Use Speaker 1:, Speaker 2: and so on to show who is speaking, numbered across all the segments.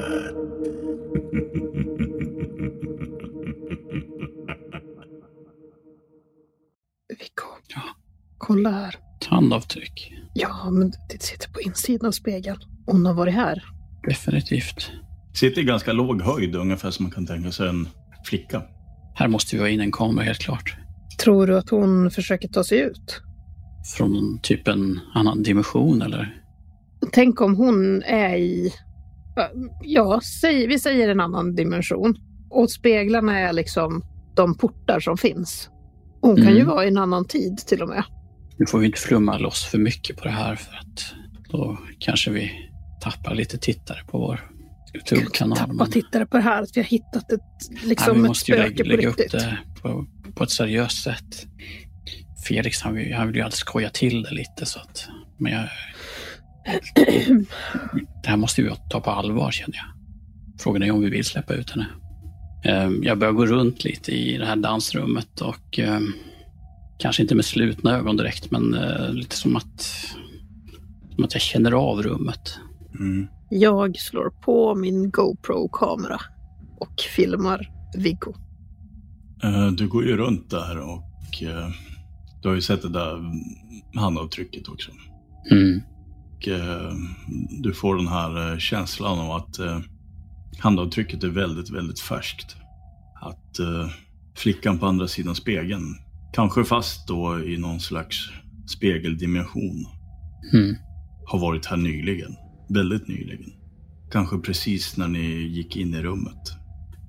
Speaker 1: Skräckblandat.
Speaker 2: Vi kommer att- Kolla här.
Speaker 3: Tandavtryck.
Speaker 2: Ja, men det sitter på insidan av spegeln. Hon har varit här.
Speaker 3: Definitivt.
Speaker 1: Sitter i ganska låg höjd, ungefär som man kan tänka sig en flicka.
Speaker 3: Här måste vi ha in en kamera helt klart.
Speaker 2: Tror du att hon försöker ta sig ut?
Speaker 3: Från typ en annan dimension eller?
Speaker 2: Tänk om hon är i... Ja, säg, vi säger en annan dimension. Och speglarna är liksom de portar som finns. Hon kan
Speaker 3: Mm.
Speaker 2: ju vara i en annan tid till och med.
Speaker 3: Nu får vi inte flumma loss för mycket på det här för att då kanske vi tappar lite tittare på vår
Speaker 2: Gud,
Speaker 3: YouTube-kanal.
Speaker 2: tappa
Speaker 3: men-
Speaker 2: tittare på det här, att vi har hittat ett,
Speaker 3: Nej,
Speaker 2: liksom
Speaker 3: vi
Speaker 2: ett
Speaker 3: måste ju
Speaker 2: spöke
Speaker 3: lägga,
Speaker 2: på
Speaker 3: lägga upp
Speaker 2: riktigt.
Speaker 3: det på, på ett seriöst sätt. Felix han vill, han vill ju alltid skoja till det lite så att... Men jag, det här måste vi ta på allvar känner jag. Frågan är om vi vill släppa ut henne. Ehm, Jag börjar gå runt lite i det här dansrummet och ehm, kanske inte med slutna ögon direkt men eh, lite som att, som att jag känner av rummet.
Speaker 1: Mm.
Speaker 2: Jag slår på min GoPro-kamera och filmar Viggo.
Speaker 1: Eh, Du går ju runt där och eh, du har ju sett det där handavtrycket också.
Speaker 3: Mm.
Speaker 1: Och, eh, du får den här eh, känslan av att eh, handavtrycket är väldigt, väldigt färskt. Att eh, flickan på andra sidan spegeln, kanske fast då i någon slags spegeldimension,
Speaker 3: Mm.
Speaker 1: har varit här nyligen. Väldigt nyligen. Kanske precis när ni gick in i rummet.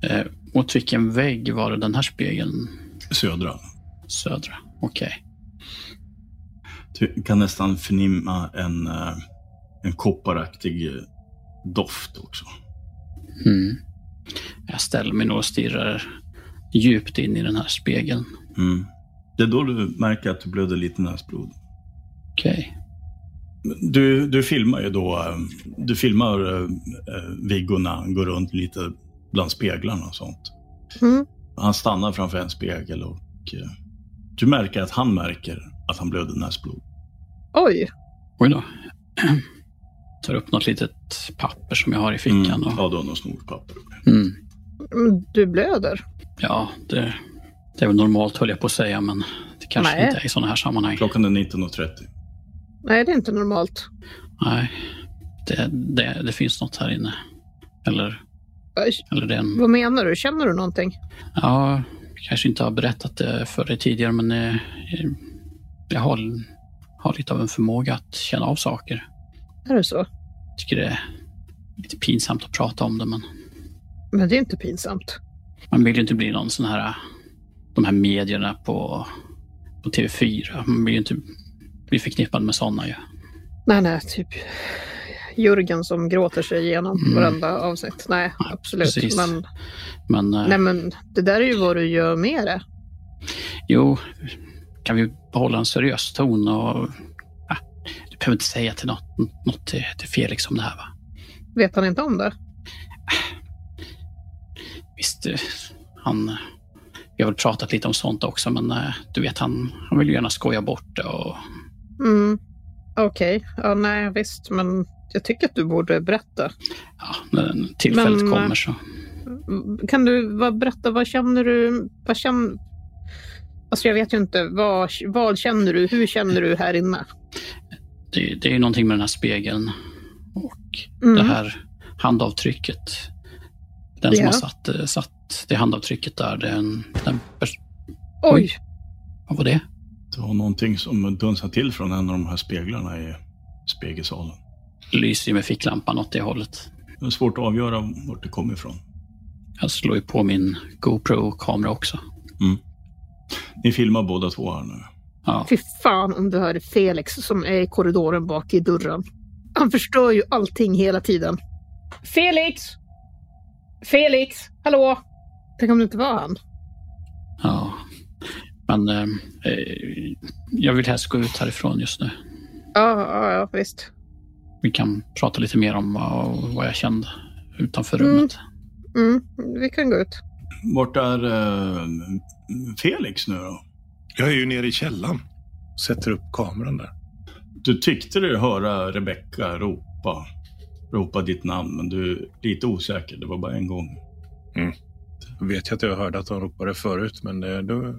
Speaker 3: Eh, Mot vilken vägg var det den här spegeln?
Speaker 1: Södra.
Speaker 3: Södra. Okej.
Speaker 1: Du kan nästan förnimma en, eh, en kopparaktig eh, doft också.
Speaker 3: Mm. Jag ställer mig nog och stirrar djupt in i den här spegeln.
Speaker 1: Mm. Det är då du märker att du blöder lite näsblod.
Speaker 3: Okej.
Speaker 1: Du, du filmar ju då, eh, du filmar eh, eh, Viggo när han går runt lite bland speglarna och sånt.
Speaker 2: Mm.
Speaker 1: Han stannar framför en spegel och eh, du märker att han märker att han blöder näsblod.
Speaker 2: Oj,
Speaker 3: Oj då. Tar upp något litet papper som jag har i
Speaker 1: Mm.
Speaker 3: fickan. Och,
Speaker 1: Ja, du har något snorpapper.
Speaker 3: mm.
Speaker 2: mm, du blöder.
Speaker 3: Ja, det, det är väl normalt höll jag på att säga, men det kanske
Speaker 2: Nej.
Speaker 3: inte är i sådana här sammanhang.
Speaker 1: Klockan är 19.30.
Speaker 2: Nej, det är inte normalt.
Speaker 3: Nej, det, det, det finns något här inne. Eller,
Speaker 2: Oj,
Speaker 3: eller det är en...
Speaker 2: Äh, Vad menar du? Känner du någonting?
Speaker 3: Ja, kanske inte har berättat det för dig tidigare, men eh, jag har, har lite av en förmåga att känna av saker.
Speaker 2: Är det så?
Speaker 3: tycker det är lite pinsamt att prata om det, men
Speaker 2: Men det är inte pinsamt.
Speaker 3: man vill ju inte bli någon sån här... De här medierna på, på TV4. Man vill ju inte bli förknippad med sådana ju.
Speaker 2: Nej, nej, typ Jörgen som gråter sig igenom
Speaker 3: Mm.
Speaker 2: varenda avsnitt. Nej,
Speaker 3: Ja,
Speaker 2: absolut.
Speaker 3: precis.
Speaker 2: Men,
Speaker 3: Men eh,
Speaker 2: nej, men det där är ju vad du gör med det.
Speaker 3: jo, kan vi behålla en seriös ton och... Ah, du behöver inte säga till något, något till, till Felix om det här va?
Speaker 2: Vet han inte om det?
Speaker 3: Visst, eh, han... eh, Vi har väl pratat lite om sånt också, men eh, du vet, han, han vill ju gärna skoja bort det och...
Speaker 2: Mm. Okej, ja, nej, visst, men jag tycker att du borde berätta.
Speaker 3: Ja, när tillfället
Speaker 2: Men, eh,
Speaker 3: kommer så...
Speaker 2: Kan du vad, berätta, vad känner du? Vad känner... Alltså jag vet ju inte. Vad, vad känner du? Hur känner du här inne?
Speaker 3: det, det är ju någonting med den här spegeln och
Speaker 2: Mm.
Speaker 3: det här handavtrycket. Den som
Speaker 2: Ja.
Speaker 3: har satt, eh, satt det handavtrycket där, den, den pers-
Speaker 2: Oj,
Speaker 3: Oj. vad var det?
Speaker 1: Det var någonting som dunsade till från en av de här speglarna i spegelsalen.
Speaker 3: Lyser ju med ficklampan åt det hållet.
Speaker 1: Det är svårt att avgöra vart det kommer ifrån.
Speaker 3: Jag slår ju på min GoPro-kamera också.
Speaker 1: Ni filmar båda två här nu.
Speaker 3: Ja,
Speaker 2: fy fan om du hörde Felix som är i korridoren bak i dörren. Han förstör ju allting hela tiden. Felix! Felix! Hallå! Tänk om det inte var han.
Speaker 3: ja. Men eh, eh, jag vill helst gå ut härifrån just nu.
Speaker 2: Ja, ja, ja visst.
Speaker 3: Vi kan prata lite mer om vad, vad jag kände utanför
Speaker 2: Mm.
Speaker 3: rummet.
Speaker 2: Mm, vi kan gå ut.
Speaker 1: Vart är eh, Felix nu då?
Speaker 4: Jag är ju nere i källaren. Sätter upp kameran där.
Speaker 1: Du tyckte dig höra Rebecka ropa, ropa ditt namn, men du är lite osäker. Det var bara en gång.
Speaker 4: Jag vet ju att jag hörde att de ropade förut, men det, då,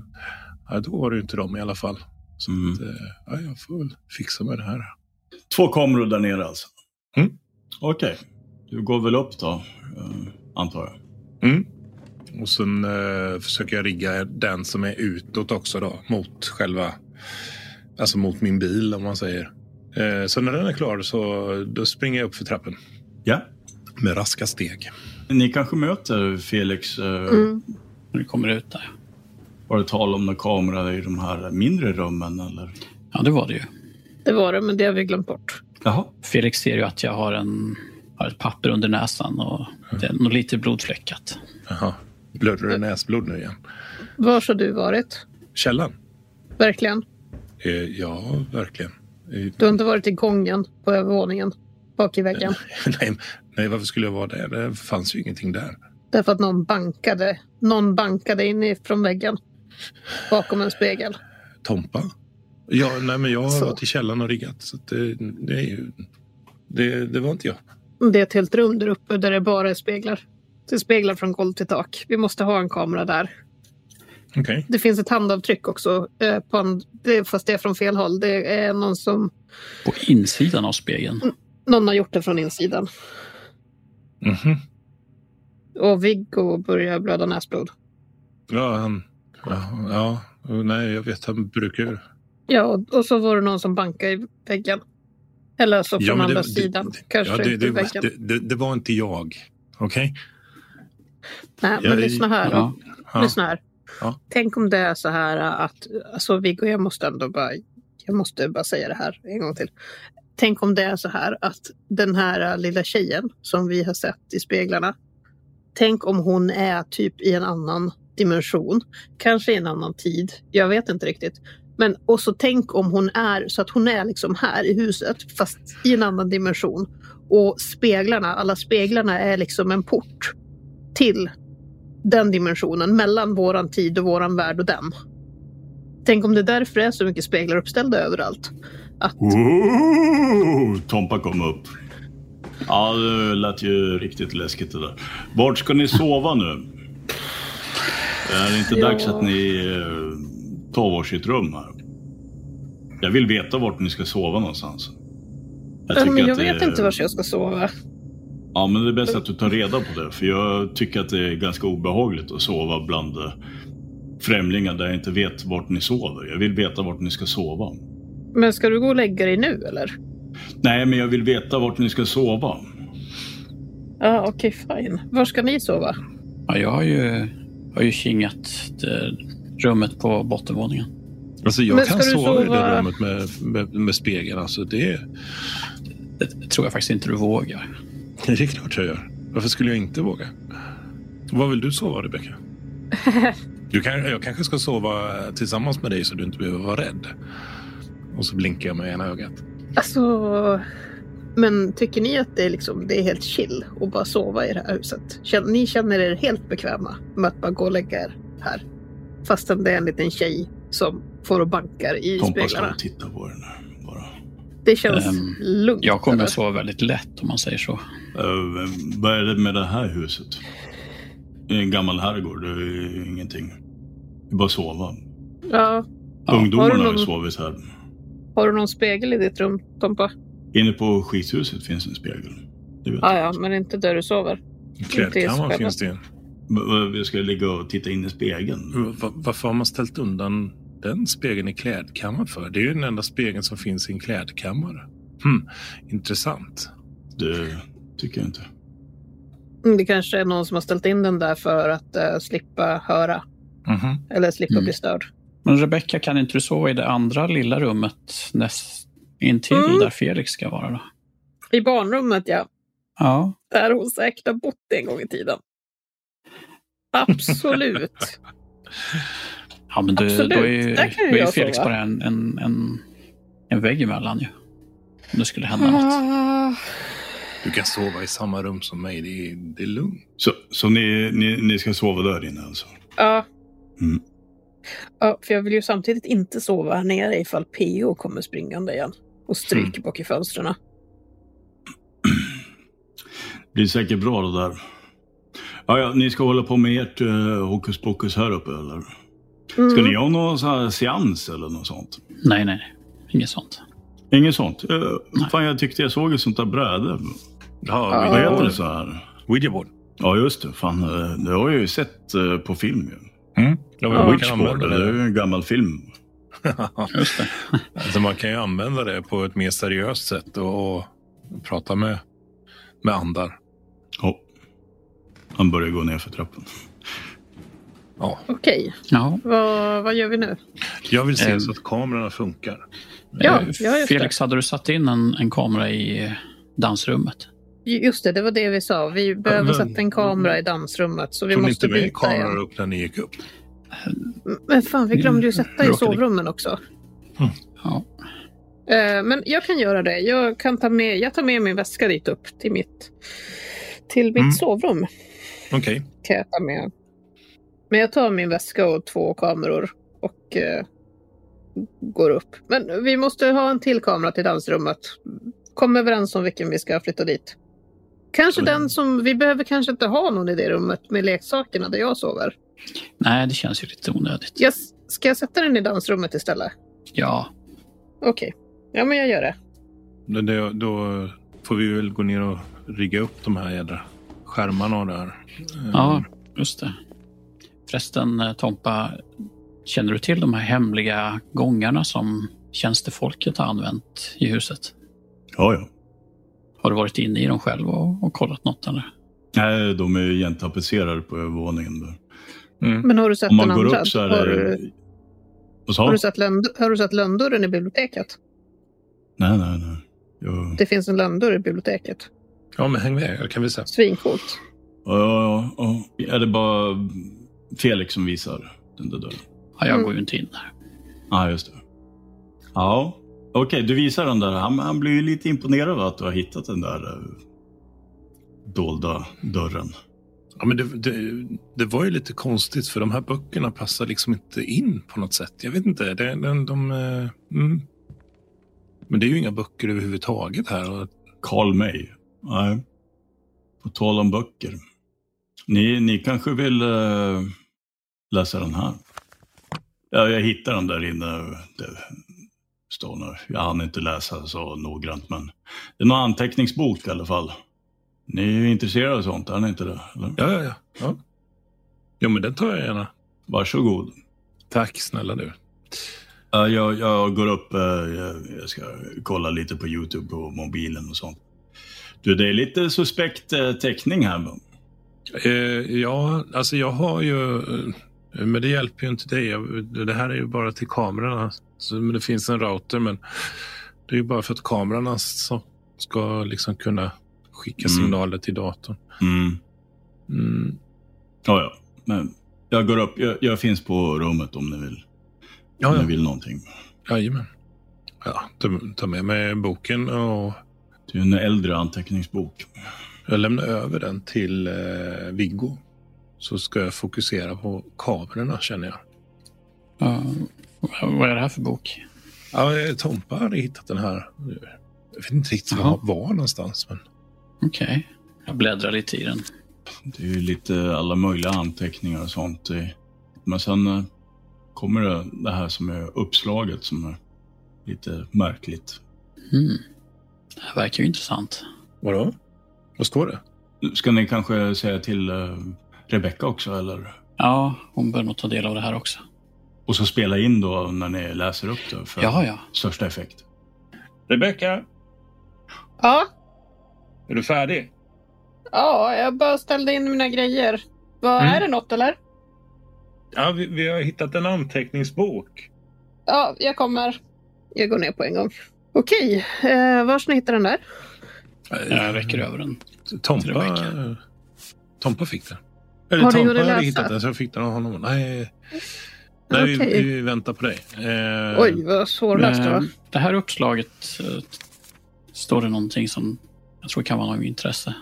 Speaker 4: ja, då var det ju inte de i alla fall. Så
Speaker 1: Mm.
Speaker 4: att, eh, ja, jag får väl fixa med det här.
Speaker 1: Två kameror där nere alltså?
Speaker 4: Mm.
Speaker 1: Okej. Du går väl upp då, eh, antar jag?
Speaker 4: Mm. Och sen eh, försöker jag rigga den som är utåt också då, mot själva, alltså mot min bil om man säger. Eh, så när den är klar så då springer jag upp för trappen
Speaker 1: Ja.
Speaker 4: med raska steg.
Speaker 1: Ni kanske möter Felix? eh,
Speaker 2: Mm.
Speaker 3: När du kommer ut där.
Speaker 1: Var det tal om någon kamera i de här mindre rummen eller?
Speaker 3: Ja, det var det ju.
Speaker 2: Det var det, men det har vi glömt bort.
Speaker 1: Jaha.
Speaker 3: Felix ser ju att jag har, en, har ett papper under näsan och det är nog lite blodfläckat.
Speaker 4: Jaha, blöder det näsblod nu igen?
Speaker 2: Var har du varit?
Speaker 4: Källan?
Speaker 2: Verkligen.
Speaker 4: Eh, ja, verkligen. Eh,
Speaker 2: Du har inte varit i gången på övervåningen, bak i väggen.
Speaker 4: nej, nej, varför skulle jag vara där? Det fanns ju ingenting där.
Speaker 2: Därför att någon bankade. Någon bankade inifrån väggen. Bakom en spegel.
Speaker 4: Tompa? Ja, nej, men jag har
Speaker 2: Så.
Speaker 4: varit i källan och riggat. Så att det, det, är ju, det, det var inte jag.
Speaker 2: Det är ett helt rum där uppe där det bara är speglar. Det är speglar från golv till tak. Vi måste ha en kamera där.
Speaker 4: Okej.
Speaker 2: Det finns ett handavtryck också. eh, På en, det, är- fast det är från fel håll. Det är någon som...
Speaker 3: På insidan av spegeln.
Speaker 2: Mm, Någon har gjort det från insidan.
Speaker 4: Mhm.
Speaker 2: Och Viggo börjar blöda näsblod.
Speaker 4: Ja, han... Ja, ja, nej, jag vet. Han brukar ju...
Speaker 2: Ja, och, och så var det någon som bankade i väggen. Eller så från
Speaker 4: Ja, men det-
Speaker 2: andra
Speaker 4: det-
Speaker 2: sidan.
Speaker 4: det-
Speaker 2: Kanske
Speaker 4: Ja, det,
Speaker 2: inte
Speaker 4: det,
Speaker 2: i väggen.
Speaker 4: det, det, det var inte jag. Okej?
Speaker 2: Nej, men
Speaker 4: jag-
Speaker 2: lyssna här. då.
Speaker 3: Ja,
Speaker 4: Ja.
Speaker 2: Lyssna här.
Speaker 4: Ja.
Speaker 2: Tänk om det är så här äh, att, alltså Viggo, jag måste ändå bara, jag måste bara säga det här en gång till. Tänk om det är så här att den här äh, lilla tjejen som vi har sett i speglarna, tänk om hon är typ i en annan dimension, kanske i en annan tid, jag vet inte riktigt. Men och så tänk om hon är så att hon är liksom här i huset fast i en annan dimension. Och speglarna, alla speglarna är liksom en port till den dimensionen mellan våran tid och våran värld och den. Tänk om det därför är så mycket speglar uppställda överallt. Att
Speaker 1: Ooh, Tompa kom upp. Ja, det lät ju riktigt läskigt det där. Vart ska ni sova nu? Är det inte
Speaker 2: Ja.
Speaker 1: dags att ni eh, tar varsitt rum här? Jag vill veta vart ni ska sova någonstans.
Speaker 2: jag, men
Speaker 1: tycker
Speaker 2: jag
Speaker 1: att det-
Speaker 2: vet inte var jag ska sova.
Speaker 1: Ja, men det är bäst att du tar reda på det. För jag tycker att det är ganska obehagligt att sova bland eh, främlingar där jag inte vet vart ni sover. Jag vill veta vart ni ska sova.
Speaker 2: Men ska du gå och lägga dig nu eller?
Speaker 1: Nej, men jag vill veta vart ni ska sova.
Speaker 2: Ja, okej, fine. Var ska ni sova?
Speaker 3: ja jag har ju, har ju kingat eh, rummet på bottenvåningen.
Speaker 4: Alltså, jag
Speaker 2: Men
Speaker 4: kan
Speaker 2: ska du
Speaker 4: sova i
Speaker 2: sova-
Speaker 4: det rummet med, med, med spegeln. Alltså, det,
Speaker 3: Det tror jag faktiskt inte du vågar.
Speaker 4: det är klart jag gör. Varför skulle jag inte våga? Var vill du sova, Rebecka? Du kan, jag kanske ska sova tillsammans med dig så du inte behöver vara rädd. Och så blinkar jag med ena ögat.
Speaker 2: Alltså, men tycker ni att det är, liksom, det är helt chill att bara sova i det här huset? Kän- Ni känner er helt bekväma med att bara gå och lägga er här? Fastän det är en liten tjej som får och bankar i
Speaker 1: Tompa står
Speaker 2: speglarna.
Speaker 1: och tittar på den här bara.
Speaker 2: Det känns
Speaker 3: Ehm,
Speaker 2: lugnt.
Speaker 3: Jag kommer
Speaker 2: eller?
Speaker 3: att sova väldigt lätt om man säger så.
Speaker 1: Eh, vad är det med det här huset? Det är en gammal herrgård, det är ingenting. Det är bara att sova.
Speaker 2: Ja.
Speaker 3: Ja,
Speaker 1: Ungdomarna
Speaker 2: har du
Speaker 1: har ju
Speaker 2: någon-
Speaker 1: sovit här.
Speaker 2: Har du någon spegel i ditt rum, Tompa?
Speaker 1: Inne på skithuset finns en spegel. Det vet
Speaker 2: Ah, ja, men inte där du sover.
Speaker 4: I
Speaker 2: är spännande.
Speaker 4: Klädkammaren finns det ju.
Speaker 1: jag. eh, Vi ska ligga och titta in i spegeln.
Speaker 4: Va- Varför har man ställt undan den spegeln i klädkammaren för? Det är ju den enda spegeln som finns i en klädkammare. Hmm, intressant.
Speaker 1: Det tycker jag inte.
Speaker 2: Mm, Det kanske är någon som har ställt in den där för att eh, slippa höra.
Speaker 4: Mhm.
Speaker 2: Eller slippa
Speaker 3: Mm.
Speaker 2: bli störd.
Speaker 3: Men Rebecka, kan inte du sova i det andra lilla rummet näst intill
Speaker 2: Mm.
Speaker 3: där Felix ska vara? Då?
Speaker 2: I barnrummet, ja.
Speaker 3: Ja,
Speaker 2: Där hon säkert har bott en gång i tiden. Absolut.
Speaker 3: ja men du,
Speaker 2: Absolut,
Speaker 3: då är ju,
Speaker 2: där kan ju
Speaker 3: då är ju
Speaker 2: jag
Speaker 3: Felix
Speaker 2: sova.
Speaker 3: bara en, en, en, en vägg emellan ju. Om det skulle hända något.
Speaker 5: Ah,
Speaker 4: Du kan sova i samma rum som mig. Det är, det är lugnt.
Speaker 1: Så, så ni, ni, ni ska sova där inne alltså?
Speaker 2: Ja.
Speaker 1: Mm.
Speaker 2: ja. För jag vill ju samtidigt inte sova här nere ifall PO kommer springande igen och stryker
Speaker 1: Mm.
Speaker 2: bak i fönstren.
Speaker 1: Det blir säkert bra det där. Ja, ja, ni ska hålla på med ert eh, hokus pokus här uppe eller?
Speaker 2: Mm.
Speaker 1: Ska ni ha någon sån här seans eller något sånt?
Speaker 3: Nej, nej, nej. Inget sånt.
Speaker 1: Inget sånt? Eh, fan, jag tyckte jag såg ett sånt där bräde.
Speaker 4: Ja,
Speaker 2: Ja.
Speaker 1: Vad
Speaker 4: Ouija
Speaker 1: heter
Speaker 4: board.
Speaker 1: det så här?
Speaker 4: Ouija board.
Speaker 1: Ja, just det. Fan, eh, det har jag ju sett eh, på film ju.
Speaker 4: Ja,
Speaker 2: Ja.
Speaker 4: men man, kan
Speaker 1: Witchboard,
Speaker 4: använda
Speaker 1: det är
Speaker 4: det.
Speaker 1: ju en gammal film.
Speaker 3: Just det.
Speaker 4: Alltså, man kan ju använda det på ett mer seriöst sätt och, och prata med, med andar.
Speaker 1: Ja. Han börjar gå ner för trappen.
Speaker 4: Ja.
Speaker 2: Okej,
Speaker 3: Ja.
Speaker 2: vad, vad gör vi nu?
Speaker 4: Jag vill
Speaker 3: Eh.
Speaker 4: se så att kamerorna funkar.
Speaker 2: Ja,
Speaker 3: Eh,
Speaker 2: ja, just
Speaker 3: Felix, hade du satt in en, en kamera i eh, dansrummet?
Speaker 2: Ju- Just det, det var det vi sa. Vi behöver
Speaker 4: men-
Speaker 2: sätta en kamera i dansrummet så vi
Speaker 4: Tog ni
Speaker 2: måste
Speaker 4: inte med
Speaker 2: byta
Speaker 4: kameror
Speaker 2: igen.
Speaker 4: upp när ni gick upp?
Speaker 2: Men fan, vi glömde ju
Speaker 4: Mm.
Speaker 2: sätta i
Speaker 3: Råkade-
Speaker 2: sovrummen också.
Speaker 3: Ja.
Speaker 2: Eh, Men jag kan göra det. Jag, kan ta med, jag tar med min väska dit upp till mitt, till mitt
Speaker 4: Mm.
Speaker 2: sovrum.
Speaker 4: Okej.
Speaker 2: Kan jag ta med. Men jag tar min väska och två kameror och eh, går upp. Men vi måste ha en till kamera till dansrummet. Kom överens om vilken vi ska flytta dit. Kanske
Speaker 4: Mm.
Speaker 2: den som... Vi behöver kanske inte ha någon i det rummet med leksakerna där jag sover.
Speaker 3: Nej, det känns ju lite onödigt.
Speaker 2: Jag, ska jag sätta den i dansrummet istället?
Speaker 3: Ja,
Speaker 2: Okej. Ja, men jag gör det.
Speaker 4: Det, det, då får vi väl gå ner och rigga upp de här jädra skärmarna och det här. Eh,
Speaker 3: Ja, Mm. just det. Förresten, eh, Tompa, känner du till de här hemliga gångarna som tjänstefolket har använt i huset?
Speaker 1: Ja, ja.
Speaker 3: Har du varit inne i dem själv och, och kollat något? Eller?
Speaker 1: Nej, de är ju gentapetserade på övervåningen. Där.
Speaker 4: Mm.
Speaker 2: Men har du sett
Speaker 1: Om man
Speaker 2: den
Speaker 1: går
Speaker 2: andra?
Speaker 1: upp så är
Speaker 2: Har du-
Speaker 1: det... Vad sa
Speaker 2: Har
Speaker 1: du?
Speaker 2: du, sett lönd- har du sett lönndörren i biblioteket?
Speaker 1: Nej, nej, nej. Jag...
Speaker 2: Det finns en lönndörr i biblioteket.
Speaker 4: ja men häng med. Jag kan visa.
Speaker 2: Svincoolt.
Speaker 1: Ja, ja, ja, ja. Är det bara Felix som visar den där dörren?
Speaker 3: Ja, jag
Speaker 2: Mm.
Speaker 3: går ju inte in där.
Speaker 1: Ja, just det. Ja, okej, du visar den där. Han, han blir ju lite imponerad av att du har hittat den där eh, dolda dörren.
Speaker 4: Ja, men det, det, det var ju lite konstigt för de här böckerna passar liksom inte in på något sätt. Jag vet inte. Det, de, de, eh, mm. Men det är ju inga böcker överhuvudtaget här. Och,
Speaker 1: Carl May. Nej. På tal om böcker. Ni, ni kanske vill eh, läsa den här? Ja, jag hittade den där inne. Det står nu. Jag hann inte läsa så noggrant, men det är någon anteckningsbok i alla fall. Ni är ju intresserade av sånt, är ni inte det? Eller?
Speaker 4: ja, ja, ja, ja. Ja, men den tar jag gärna.
Speaker 1: Varsågod.
Speaker 4: Tack snälla du.
Speaker 1: Ja, jag, jag går upp, eh, jag, jag ska kolla lite på YouTube på mobilen och sånt. Du, det är lite suspekt eh, teckning här. men-
Speaker 4: Eh, ja, alltså jag har ju... eh, Men det hjälper ju inte dig. Jag- Det här är ju bara till kamerorna. Så, men det finns en router, men det är ju bara för att kamerorna som ska liksom kunna skicka
Speaker 1: Mm.
Speaker 4: signaler till datorn.
Speaker 1: Mm.
Speaker 4: Mm.
Speaker 1: Ja, ja. Men jag går upp, jag, jag finns på rummet om ni vill,
Speaker 4: Ja,
Speaker 1: om ni
Speaker 4: ja.
Speaker 1: vill någonting.
Speaker 4: Jajamän. Ja, ta, ta med mig boken och
Speaker 1: Det är en äldre anteckningsbok.
Speaker 4: jag lämnar över den till eh, Viggo. Så ska jag fokusera på kamerorna känner jag.
Speaker 3: Ja, vad är det här för bok?
Speaker 4: Ja, eh, Tompa hade hittat den här. Jag vet inte riktigt
Speaker 3: Jaha.
Speaker 4: var, var någonstans. Men...
Speaker 3: Okej. Jag bläddrar lite i den.
Speaker 1: Det är ju lite alla möjliga anteckningar och sånt. i. Men sen eh, kommer det, det här som är uppslaget som är lite märkligt.
Speaker 3: Mm. Det här verkar ju intressant.
Speaker 4: Vadå? Vad står det?
Speaker 1: Ska ni kanske säga till eh, Rebecca också, eller?
Speaker 3: Ja, hon bör nog ta del av det här också.
Speaker 1: Och så spela in då när ni läser upp det för
Speaker 3: Ja, ja.
Speaker 1: största effekt.
Speaker 6: Rebecka,
Speaker 2: Ja,
Speaker 6: är du färdig?
Speaker 2: ja, jag bara ställde in mina grejer. Vad
Speaker 6: Mm.
Speaker 2: Är det något eller?
Speaker 6: Ja, vi, vi har hittat en anteckningsbok.
Speaker 2: Ja, jag kommer. Jag går ner på en gång. Okej, eh, var ska ni hitta den där?
Speaker 4: Eh,
Speaker 3: Jag räcker över den. Till
Speaker 4: Tompa,
Speaker 3: Rebecca.
Speaker 4: Tompa fick den. Eller
Speaker 2: Har du gjort
Speaker 4: Tompa
Speaker 2: det
Speaker 4: hade
Speaker 2: läsa?
Speaker 4: hittat den så jag fick den av honom. Nej, Nej vi-
Speaker 2: Okej.
Speaker 4: vi, vi väntar på dig. Eh,
Speaker 2: Oj, vad svårläst det var.
Speaker 3: Eh, Det här uppslaget eh, Står det någonting som jag tror kan vara av intresse?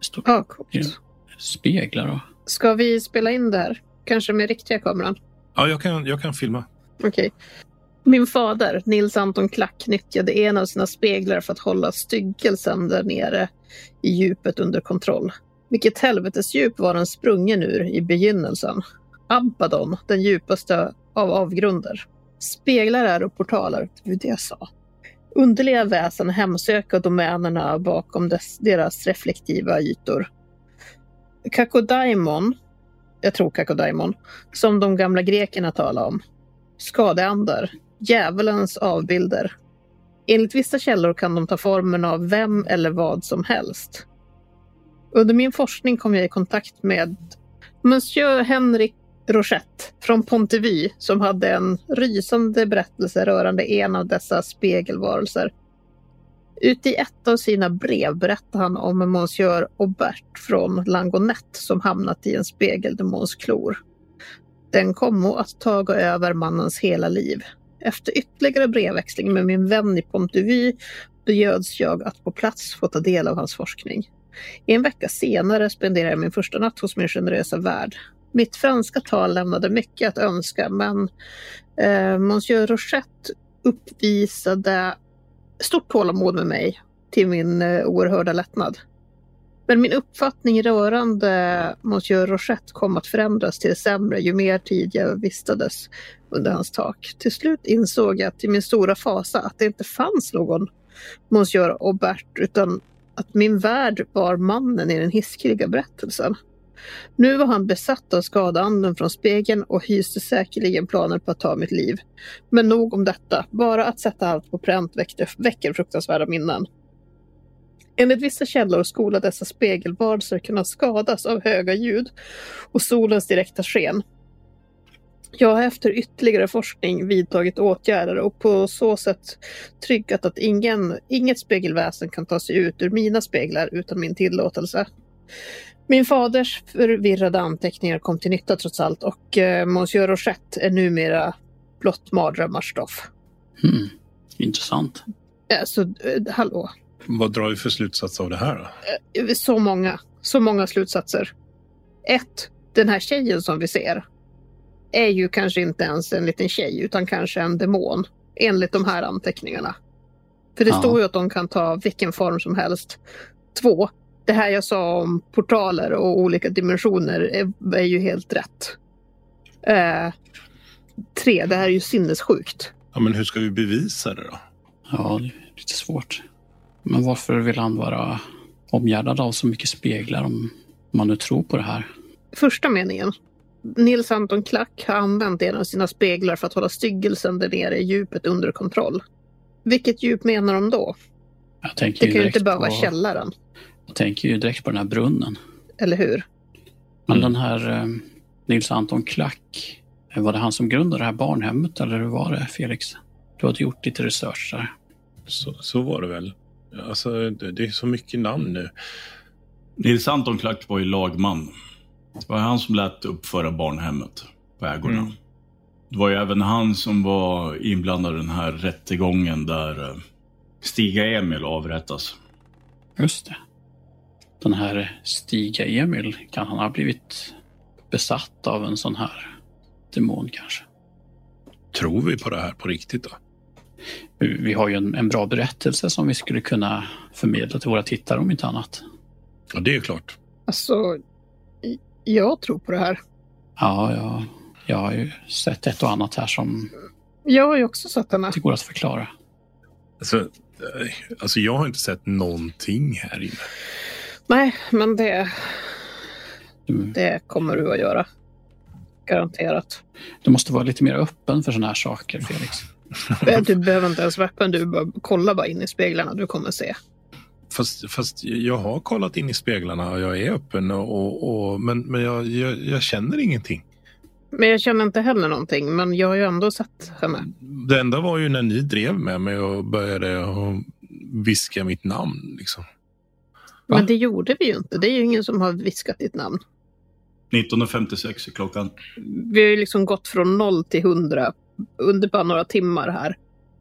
Speaker 3: Det står
Speaker 2: Ja, coolt.
Speaker 3: speglar och...
Speaker 2: Ska vi spela in det här? Kanske med riktiga kameran?
Speaker 4: Ja, jag kan, jag kan filma.
Speaker 2: Okej. Min fader, Nils Anton Klack, nyttjade en av sina speglar för att hålla styggelsen där nere i djupet under kontroll. Vilket helvetes djup var den sprungen ur i begynnelsen? Abaddon, den djupaste av avgrunder. Speglar är och portaler, det var det jag sa. Underliga väsen hemsöka domänerna bakom dess, deras reflektiva ytor. Kakodaimon, jag tror Kakodaimon, som de gamla grekerna talade om, skadeandar, djävulens avbilder. Enligt vissa källor kan de ta formen av vem eller vad som helst. Under min forskning kom jag i kontakt med Monsieur Henrik Rochette från Pontivy som hade en rysande berättelse rörande en av dessa spegelvarelser. Uti ett av sina brev berättar han om Monsieur Aubert från Langonette som hamnat i en spegeldemons klor. Den kommo att taga över mannens hela liv. Efter ytterligare brevväxling med min vän i Pontivy bjöds jag att på plats få ta del av hans forskning. En vecka senare spenderade jag min första natt hos min generösa värd. Mitt franska tal lämnade mycket att önska, men eh, Monsieur Rochette uppvisade stort tålamod med mig till min eh, oerhörda lättnad. Men min uppfattning rörande Monsieur Rochette kom att förändras till det sämre ju mer tid jag vistades under hans tak. Till slut insåg jag till min stora fasa att det inte fanns någon Monsieur Aubert utan att min värld var mannen i den hiskeliga berättelsen. Nu var han besatt av skadeanden från spegeln och hyste säkerligen planer på att ta mitt liv. Men nog om detta, bara att sätta allt på pränt väckte, väcker fruktansvärda minnen. Enligt vissa källor skola dessa spegelvarelser kunna skadas av höga ljud och solens direkta sken. Jag har efter ytterligare forskning vidtagit åtgärder och på så sätt tryggat att ingen, inget spegelväsen kan ta sig ut ur mina speglar utan min tillåtelse. Min faders förvirrade anteckningar kom till nytta trots allt och eh, Monsieur Rochette är numera blott mardrömmars stoff.
Speaker 3: Hmm, intressant.
Speaker 2: Eh, Så, eh, hallå.
Speaker 4: Vad drar vi för slutsats av det här? Då?
Speaker 2: så många, så många slutsatser. Ett, den här tjejen som vi ser är ju kanske inte ens en liten tjej utan kanske en demon enligt de här anteckningarna. För det
Speaker 3: Ja.
Speaker 2: står ju att de kan ta vilken form som helst. Två, det här jag sa om portaler och olika dimensioner är, är ju helt rätt. Eh, tre, det här är ju sinnessjukt.
Speaker 4: Ja, men hur ska vi bevisa det då?
Speaker 3: Ja, det är lite svårt. Men varför vill han vara omgärdad av så mycket speglar om man nu tror på det här?
Speaker 2: första meningen. Nils Anton Klack har använt en av sina speglar för att hålla styggelsen där nere i djupet under kontroll. Vilket djup menar de då?
Speaker 3: Jag tänker,
Speaker 2: Det
Speaker 3: ju
Speaker 2: kan ju
Speaker 3: direkt
Speaker 2: inte bara vara
Speaker 3: på,
Speaker 2: källaren,
Speaker 3: jag tänker ju direkt på den här brunnen.
Speaker 2: eller hur?
Speaker 3: Men
Speaker 4: Mm.
Speaker 3: den här eh, Nils Anton Klack, eh, var det han som grundade det här barnhemmet eller hur var det Felix? Du hade gjort lite research där.
Speaker 4: Så, så var det väl. Alltså, det, det är så mycket namn nu.
Speaker 1: Nils Anton Klack var ju lagman. Det var han som lät uppföra barnhemmet på Ägorna.
Speaker 4: Mm.
Speaker 1: Det var ju även han som var inblandad i den här rättegången där eh, Stiga Emil avrättas.
Speaker 3: Just det. Den här Stiga Emil, kan han ha blivit besatt av en sån här demon kanske?
Speaker 4: Tror vi på det här på riktigt då?
Speaker 3: Vi vi har ju en, en bra berättelse som vi skulle kunna förmedla till våra tittare om inte annat.
Speaker 4: Ja, det är klart.
Speaker 2: Alltså, i- jag tror på det här.
Speaker 3: Ja, ja, jag har ju sett ett och annat här som
Speaker 2: Jag har ju också sett henne.
Speaker 3: det går att förklara.
Speaker 4: Alltså, eh, alltså, jag har inte sett någonting här inne.
Speaker 2: Nej, men det,
Speaker 3: Du,
Speaker 2: det kommer du att göra. Garanterat.
Speaker 3: du måste vara lite mer öppen för sådana här saker, Felix.
Speaker 2: Du behöver inte ens vara öppen, du bara kolla bara in i speglarna, du kommer se.
Speaker 4: Fast, fast jag har kollat in i speglarna och jag är öppen, och, och, och, men, men jag, jag, jag känner ingenting.
Speaker 2: Men jag känner inte heller någonting, men jag har ju ändå sett henne.
Speaker 4: Det enda var ju när ni drev med mig och började och viska mitt namn. Liksom.
Speaker 3: Va?
Speaker 2: Men det gjorde vi ju inte. Det är ju ingen som har viskat ditt namn.
Speaker 1: 19.56 är klockan.
Speaker 2: Vi har ju liksom gått från noll till hundra under bara några timmar här.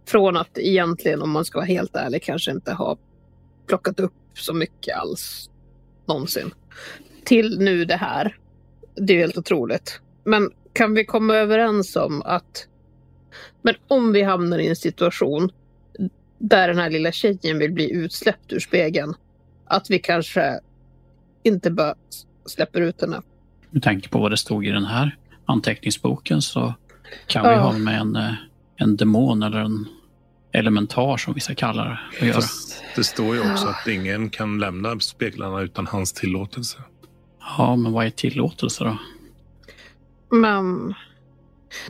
Speaker 2: Från att egentligen, om man ska vara helt ärlig, kanske inte ha plockat upp så mycket alls någonsin. Till nu det här. Det är ju helt otroligt. Men kan vi komma överens om att... Men om vi hamnar i en situation där den här lilla tjejen vill bli utsläppt ur spegeln, att vi kanske inte bara släpper ut henne.
Speaker 3: Med tanke på vad det stod i den här anteckningsboken så kan vi
Speaker 2: Ja.
Speaker 3: ha med en, eh, en demon eller en elementar som vissa kallar det att göra.
Speaker 4: Fast det står ju också att ingen kan lämna speglarna utan hans tillåtelse.
Speaker 3: Ja, men vad är tillåtelse då?
Speaker 2: Men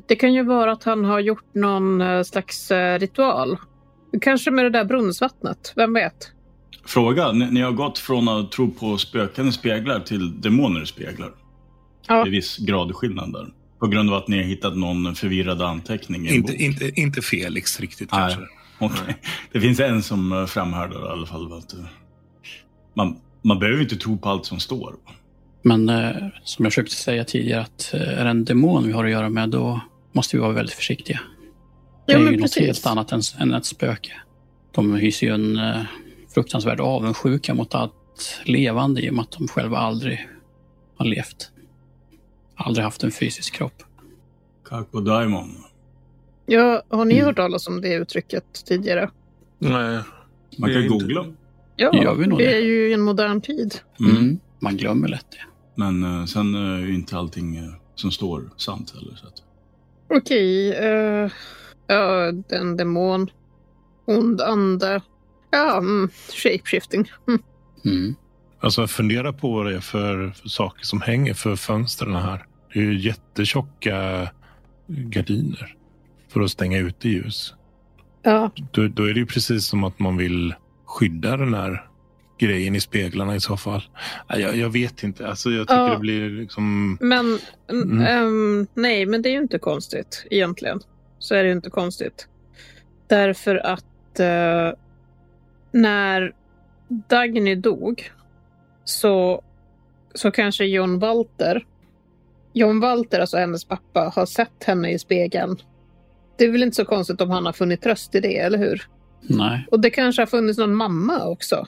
Speaker 2: det kan ju vara att han har gjort någon eh, slags eh, ritual. Kanske med det där brunnsvattnet, vem vet?
Speaker 1: Fråga, ni, ni har gått från att tro på spöken i speglar till demoner i speglar.
Speaker 2: Ja.
Speaker 1: Det är viss gradskillnad där. På grund av att ni har hittat någon förvirrad anteckning i en
Speaker 4: Inte,
Speaker 1: bok.
Speaker 4: inte, inte Felix riktigt
Speaker 1: Nej.
Speaker 4: kanske.
Speaker 1: Okej. Det finns en som eh, framhärdar i alla fall. Att eh, man, man behöver inte tro på allt som står.
Speaker 3: Men eh, som jag försökte säga tidigare, att eh, är det en demon vi har att göra med, då måste vi vara väldigt försiktiga. Det
Speaker 2: Jo,
Speaker 3: är
Speaker 2: men
Speaker 3: ju något
Speaker 2: precis.
Speaker 3: helt annat än, än ett spöke. De hyser ju en eh, fruktansvärd avundsjuka mot allt levande i och med att de själva aldrig har levt. Aldrig haft en fysisk kropp.
Speaker 1: Kako Daimon.
Speaker 2: Ja, har ni
Speaker 3: Mm.
Speaker 2: hört talas om det uttrycket tidigare?
Speaker 4: Nej.
Speaker 1: Man
Speaker 4: det är
Speaker 1: kan
Speaker 4: inte-
Speaker 1: googla.
Speaker 2: Ja,
Speaker 3: Gör vi nog
Speaker 2: det
Speaker 3: det?
Speaker 2: är ju i en modern tid.
Speaker 1: Mm.
Speaker 3: Mm. Man glömmer lätt det.
Speaker 1: Men eh, sen eh, är inte allting eh, som står sant heller. Så att,
Speaker 2: Okej, eh, ja, den demon, ond ande, ja, mm, shapeshifting. Mm.
Speaker 3: Mm.
Speaker 4: Alltså fundera på vad det är för, för saker som hänger för fönstren här. Det är ju jättetjocka gardiner för att stänga ute ljus.
Speaker 2: Ja,
Speaker 4: Då, då är det ju precis som att man vill skydda den här grejen i speglarna i så fall. Nej, Jag, jag vet inte. Alltså jag tycker
Speaker 2: Ja.
Speaker 4: det blir liksom...
Speaker 2: men n-
Speaker 4: Mm.
Speaker 2: ehm, nej, men det är ju inte konstigt egentligen. Så är det ju inte konstigt. Därför att eh, när Dagny dog så, så kanske John Walter, John Walter, alltså hennes pappa, har sett henne i spegeln. Det är väl inte så konstigt om han har funnit tröst i det, eller hur?
Speaker 3: Nej.
Speaker 2: Och det kanske har funnits någon mamma också.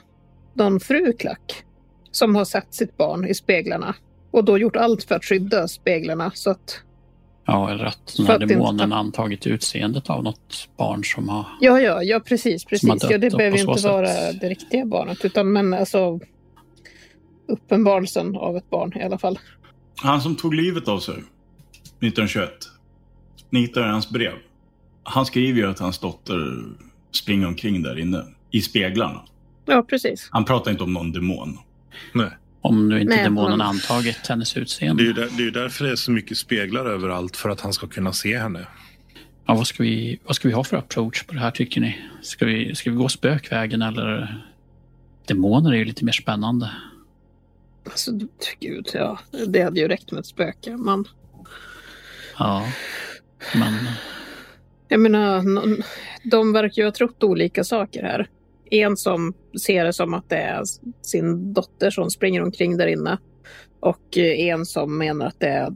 Speaker 2: Någon fruklack. Som har sett sitt barn i speglarna. Och då gjort allt för att skydda speglarna. Så att,
Speaker 3: Ja, eller att den
Speaker 2: För
Speaker 3: här
Speaker 2: att det inte-
Speaker 3: demonen antagit utseendet av något barn som har...
Speaker 2: ja, ja, ja, precis. precis.
Speaker 3: har
Speaker 2: Ja, det
Speaker 3: dött
Speaker 2: behöver
Speaker 3: och på
Speaker 2: inte
Speaker 3: så
Speaker 2: vara
Speaker 3: sätt-
Speaker 2: det riktiga barnet. Utan men alltså uppenbarelsen av ett barn i alla fall.
Speaker 1: han som tog livet av sig 1921. Ni hittar hans brev. Han skriver ju att hans dotter springer omkring där inne i speglarna.
Speaker 2: Ja, precis.
Speaker 1: Han pratar inte om någon demon.
Speaker 4: Nej.
Speaker 3: Om nu inte
Speaker 2: Nej,
Speaker 3: demonen
Speaker 2: men-
Speaker 3: antagit hennes
Speaker 4: Det
Speaker 3: utseende.
Speaker 4: är ju där, det är ju därför det är så mycket speglar överallt. För att han ska kunna se henne.
Speaker 3: Ja, vad, ska vi, vad ska vi ha för approach på det här tycker ni? Ska vi, ska vi gå spökvägen eller? Demoner är ju lite mer spännande.
Speaker 2: Alltså, gud, ja. Det hade ju räckt med ett spöke. Man,
Speaker 3: Ja, men
Speaker 2: jag menar, någon, de verkar ju ha trott olika saker här. En som ser det som att det är sin dotter som springer omkring där inne. Och eh, en som menar att det är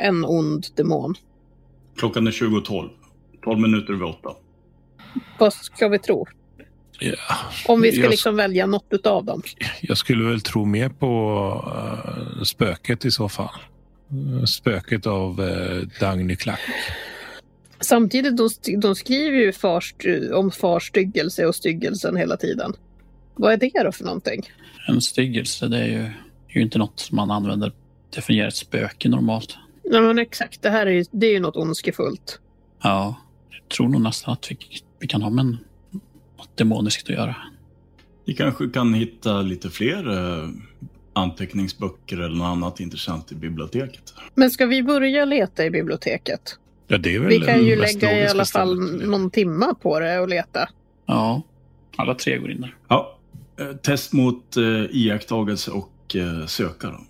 Speaker 2: en ond demon.
Speaker 1: Klockan är 20.12. 12 minuter över åtta.
Speaker 2: Vad ska vi tro?
Speaker 4: Ja.
Speaker 2: Om vi ska
Speaker 4: Jag-
Speaker 2: liksom välja något utav dem.
Speaker 4: Jag skulle väl tro mer på eh, spöket i så fall. Eh, Spöket av uh, Dagny Klack.
Speaker 2: Samtidigt, de, st- de skriver ju fars, om fars styggelse och styggelsen hela tiden. Vad är det då för någonting?
Speaker 3: en styggelse det är ju, är ju inte något som man använder definierar ett spöke normalt.
Speaker 2: Nej, men exakt, det här är ju, det är ju något ondskefullt.
Speaker 3: Ja, jag tror nog nästan att vi, vi kan ha med en- något demoniskt att göra.
Speaker 1: Ni kanske kan hitta lite fler eh, anteckningsböcker eller något annat intressant i biblioteket.
Speaker 2: Men ska vi börja leta i biblioteket?
Speaker 4: Ja, det är väl
Speaker 2: Vi kan ju
Speaker 4: det mest
Speaker 2: lägga i
Speaker 4: logiska
Speaker 2: alla fall
Speaker 4: stället.
Speaker 2: någon timma på det och leta.
Speaker 3: Ja, alla tre går in där.
Speaker 1: Ja, eh, test mot eh, iakttagelse och eh, söka då.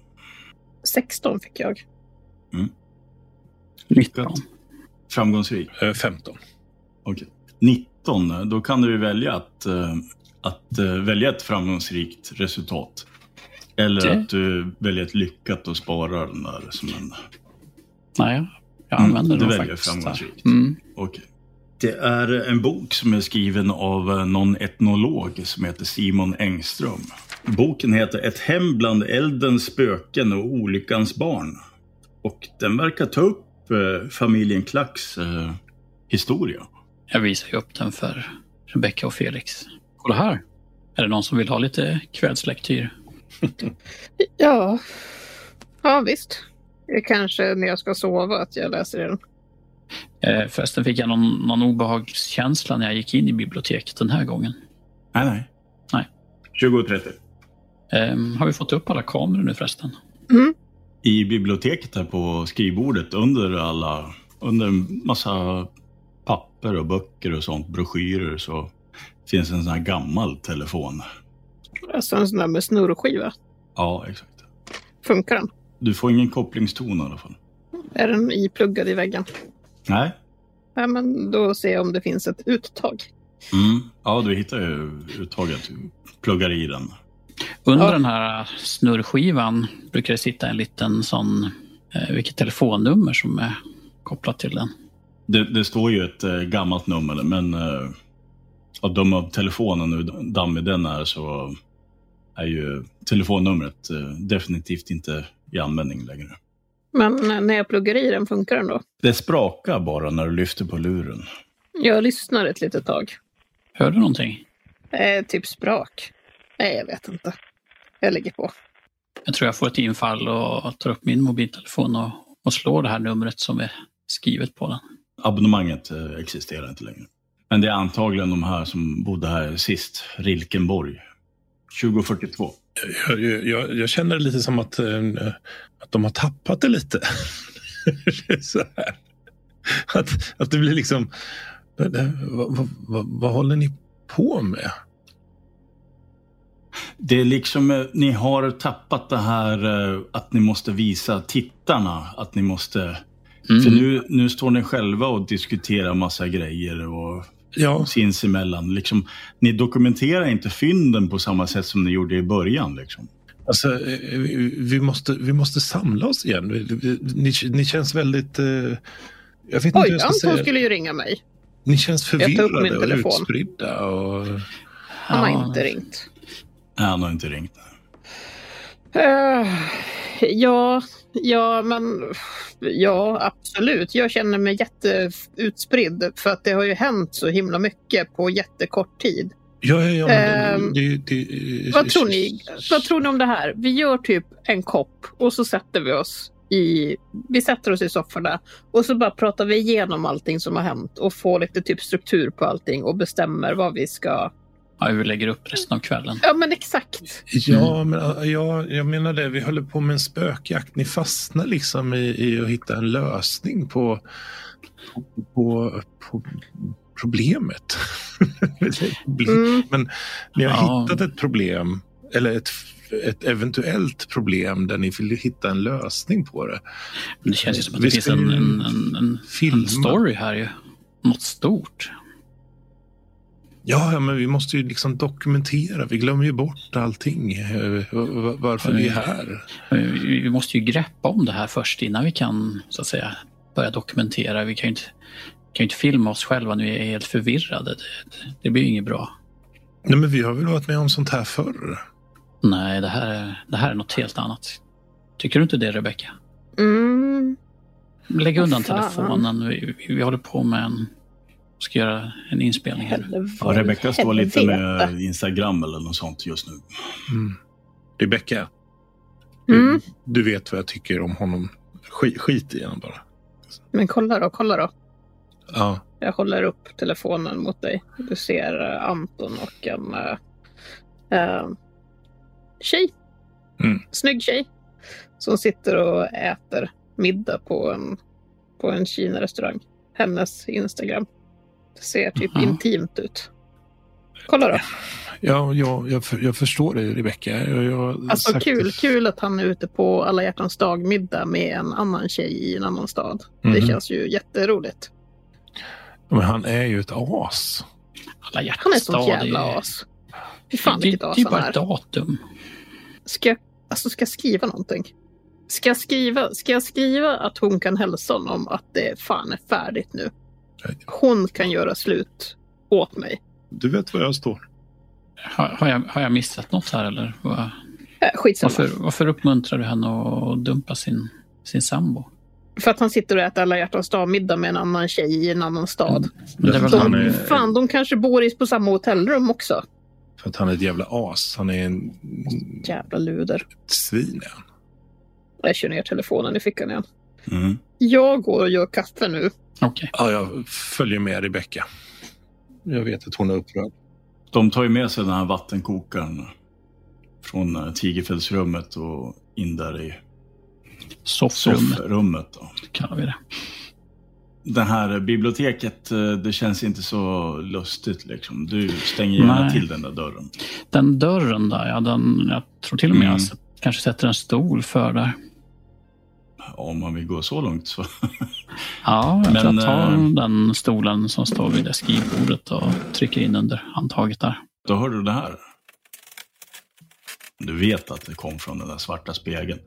Speaker 2: 16 fick jag.
Speaker 3: 19.
Speaker 1: Framgångsrik.
Speaker 4: Eh, 15.
Speaker 1: 19, eh, då kan du ju välja att, eh, att eh, välja ett framgångsrikt resultat. Eller
Speaker 3: Det-
Speaker 1: att du väljer ett lyckat och sparar den där som en...
Speaker 3: Nej, jag
Speaker 1: Mm,
Speaker 3: använder
Speaker 1: du
Speaker 3: nog
Speaker 1: väljer
Speaker 3: faktiskt.
Speaker 1: framgångsrikt.
Speaker 3: Mm.
Speaker 1: Okej. Det är en bok som är skriven av eh, någon etnolog som heter Simon Engström. Boken heter Ett hem bland eldens spöken och olyckans barn. Och den verkar ta upp eh, familjen Klacks eh, historia.
Speaker 3: Jag visar ju upp den för Rebecca och Felix. Kolla här! Är det någon som vill ha lite kvällslektyr?
Speaker 2: Ja. Ja, visst. Det är kanske när jag ska sova att jag läser den.
Speaker 3: Eh, förresten fick jag någon, någon obehagskänsla när jag gick in i biblioteket den här gången.
Speaker 1: Nej, nej.
Speaker 3: Nej.
Speaker 1: 20.30.
Speaker 3: Ehm, har vi fått upp alla kameror nu förresten?
Speaker 1: I biblioteket här på skrivbordet under alla, under en massa papper och böcker och sånt, broschyrer så finns en sån här gammal telefon.
Speaker 2: Alltså en sån där med snurrskiva.
Speaker 1: Ja, exakt.
Speaker 2: Funkar den?
Speaker 1: Du får ingen kopplingston i alla fall.
Speaker 2: Är den ipluggad i väggen?
Speaker 1: Nej.
Speaker 2: Ja, men då ser jag om det finns ett uttag.
Speaker 1: Mm. Ja, du hittar ju uttaget. Du pluggar i den.
Speaker 3: Under
Speaker 2: Ja.
Speaker 3: den här snurrskivan brukar det sitta en liten sån, eh, vilket telefonnummer som är kopplat till den.
Speaker 1: Det, det står ju ett eh, gammalt nummer, men eh, att döma av telefonen och hur dammig den är så är ju telefonnumret eh, definitivt inte i användning längre.
Speaker 2: Men eh, när jag pluggar i den, funkar den då?
Speaker 1: Det sprakar bara när du lyfter på luren.
Speaker 2: Jag lyssnar ett litet tag.
Speaker 3: Hör du någonting?
Speaker 2: Eh, typ sprak. Nej, jag vet inte. Jag lägger på.
Speaker 3: Jag tror jag får ett infall och tar upp min mobiltelefon och, och slår det här numret som är skrivet på den.
Speaker 1: Abonnemanget eh, existerar inte längre. Men det är antagligen de här som bodde här sist, Rilkenborg. 2042.
Speaker 4: Jag, jag, jag känner lite som att, eh, att de har tappat det lite. Det är så här. Att, att det blir liksom... det- det- Vad, vad, vad, vad håller ni på med?
Speaker 1: Det är liksom, eh, ni har tappat det här eh, att ni måste visa tittarna att ni måste...
Speaker 4: Mm.
Speaker 3: Mm.
Speaker 1: För nu, nu står ni själva och diskuterar massa grejer och
Speaker 4: Ja,
Speaker 1: sinsemellan. Liksom, ni dokumenterar inte fynden på samma sätt som ni gjorde i början. Liksom.
Speaker 4: Alltså, eh, vi, vi, måste, vi måste samla oss igen. Vi, vi, ni, ni känns väldigt... eh, Jag vet inte hur
Speaker 2: Oj,
Speaker 4: jag ska
Speaker 2: Anton
Speaker 4: säga.
Speaker 2: skulle ju ringa mig.
Speaker 4: Ni känns
Speaker 2: tar upp min
Speaker 4: förvirrade och
Speaker 2: telefon.
Speaker 4: utspridda. Och...
Speaker 2: Han har inte ringt.
Speaker 1: Nej, han har inte ringt.
Speaker 2: Eh, ja, ja, men ja, absolut. Jag känner mig jätteutspridd för att det har ju hänt så himla mycket på jättekort tid.
Speaker 4: Ja, ja, ja. men
Speaker 2: Ehm,
Speaker 4: det, det, det,
Speaker 2: Vad tror ni? Vad tror ni om det här? Vi gör typ en kopp och så sätter vi oss i, vi sätter oss i sofforna och så bara pratar vi igenom allting som har hänt och får lite typ struktur på allting och bestämmer vad vi ska.
Speaker 3: Ja, vi lägger upp resten av kvällen.
Speaker 2: Ja men exakt.
Speaker 4: Ja, men äh, ja, jag menar det. Vi håller på med en spökjakt. Ni fastnar liksom i, i att hitta en lösning på, på, på problemet. Problem.
Speaker 2: Mm.
Speaker 4: Ni har
Speaker 3: Ja.
Speaker 4: hittat ett problem, eller ett, ett eventuellt problem där ni vill hitta en lösning på det.
Speaker 3: Men det känns ju som att
Speaker 4: Vi
Speaker 3: det finns
Speaker 4: ska
Speaker 3: en,
Speaker 4: ju
Speaker 3: en, en, en,
Speaker 4: filma.
Speaker 3: en story här ju. Något stort.
Speaker 4: Ja, ja, men vi måste ju liksom dokumentera. Vi glömmer ju bort allting. eh, var- Varför vi är här.
Speaker 3: Vi vi måste ju greppa om det här först innan vi kan så att säga börja dokumentera. Vi kan ju inte, kan ju inte filma oss själva nu. Vi är helt förvirrade. Det, det blir ju inget bra.
Speaker 4: Nej, men vi har väl varit med om sånt här förr?
Speaker 3: Nej, det här, är- det här är något helt annat. Tycker du inte det, Rebecca?
Speaker 2: Mm.
Speaker 3: Lägg undan
Speaker 2: Fan.
Speaker 3: telefonen. Vi, vi, vi håller på med en... Ska göra en inspelning här nu.
Speaker 1: Ja, Rebecka står lite med Instagram eller något sånt just nu.
Speaker 4: Mm. Rebecka,
Speaker 2: Mm.
Speaker 4: Du vet vad jag tycker om honom. Skit, skit i honom bara.
Speaker 2: Men kolla då, kolla då.
Speaker 4: Ja.
Speaker 2: Jag håller upp telefonen mot dig. Du ser eh, Anton och en eh, eh, tjej.
Speaker 4: Mm.
Speaker 2: Snygg tjej. Som sitter och äter middag på en, på en Kina-restaurang. Hennes Instagram. Det ser typ
Speaker 3: Jaha.
Speaker 2: intimt ut. Kolla då.
Speaker 4: Ja, jag, jag, för- jag förstår dig, Rebecka. Jag, jag,
Speaker 2: Alltså
Speaker 4: sagt-
Speaker 2: kul, kul att han är ute på alla hjärtans dag-middag med en annan tjej i en annan stad.
Speaker 4: Mhm.
Speaker 2: Det känns ju jätteroligt.
Speaker 4: Men han är ju ett as.
Speaker 3: Alla hjärtans
Speaker 2: Han är ett sånt
Speaker 3: dag, det
Speaker 2: jävla as. Fy fan
Speaker 3: det,
Speaker 2: vilket
Speaker 3: det
Speaker 2: as
Speaker 3: är typ ju
Speaker 2: han
Speaker 3: bara
Speaker 2: är.
Speaker 3: ett datum.
Speaker 2: Ska jag, alltså ska jag skriva någonting? Ska jag skriva, ska jag skriva att hon kan hälsa honom att det fan är färdigt nu? Hon kan göra slut åt mig.
Speaker 4: Du vet var jag står.
Speaker 3: Har, har, jag, har jag missat något här eller? Vad-
Speaker 2: Äh, skitsamma.
Speaker 3: Varför, varför uppmuntrar du henne att dumpa sin, sin sambo?
Speaker 2: För att han sitter och äter alla hjärtans dag-middag med en annan tjej i en annan stad.
Speaker 3: Men det är väl
Speaker 4: Därför
Speaker 2: De,
Speaker 4: att
Speaker 3: han,
Speaker 4: är-
Speaker 2: Fan, de kanske bor i, på samma hotellrum också.
Speaker 4: För att han är ett jävla as. Han är en
Speaker 2: Jävla luder.
Speaker 4: ett svin. ja.
Speaker 2: Jag kör ner telefonen i fickan igen.
Speaker 1: Mm.
Speaker 2: Jag går och gör kaffe nu.
Speaker 3: Okej.
Speaker 4: Ja, jag följer med Rebecka. Jag vet att hon är upprörd.
Speaker 1: De tar ju med sig den här vattenkokaren från eh, Tigerfällsrummet och in där i
Speaker 3: Soffrummet
Speaker 1: soffrummet. Då.
Speaker 3: kallar vi det.
Speaker 1: Det här eh, biblioteket, eh, det känns inte så lustigt liksom. Du stänger gärna
Speaker 3: Nej.
Speaker 1: till den där dörren.
Speaker 3: Den dörren där, ja, den, jag tror till och med
Speaker 1: Mm.
Speaker 3: jag sett- kanske sätter en stol för där.
Speaker 1: Om man vill gå så långt så.
Speaker 3: Ja, jag tror
Speaker 1: Men,
Speaker 3: jag tar
Speaker 1: eh,
Speaker 3: den stolen som står vid det skrivbordet och trycker in under handtaget där.
Speaker 1: Då hör du det här. Du vet att det kom från den där svarta spegeln.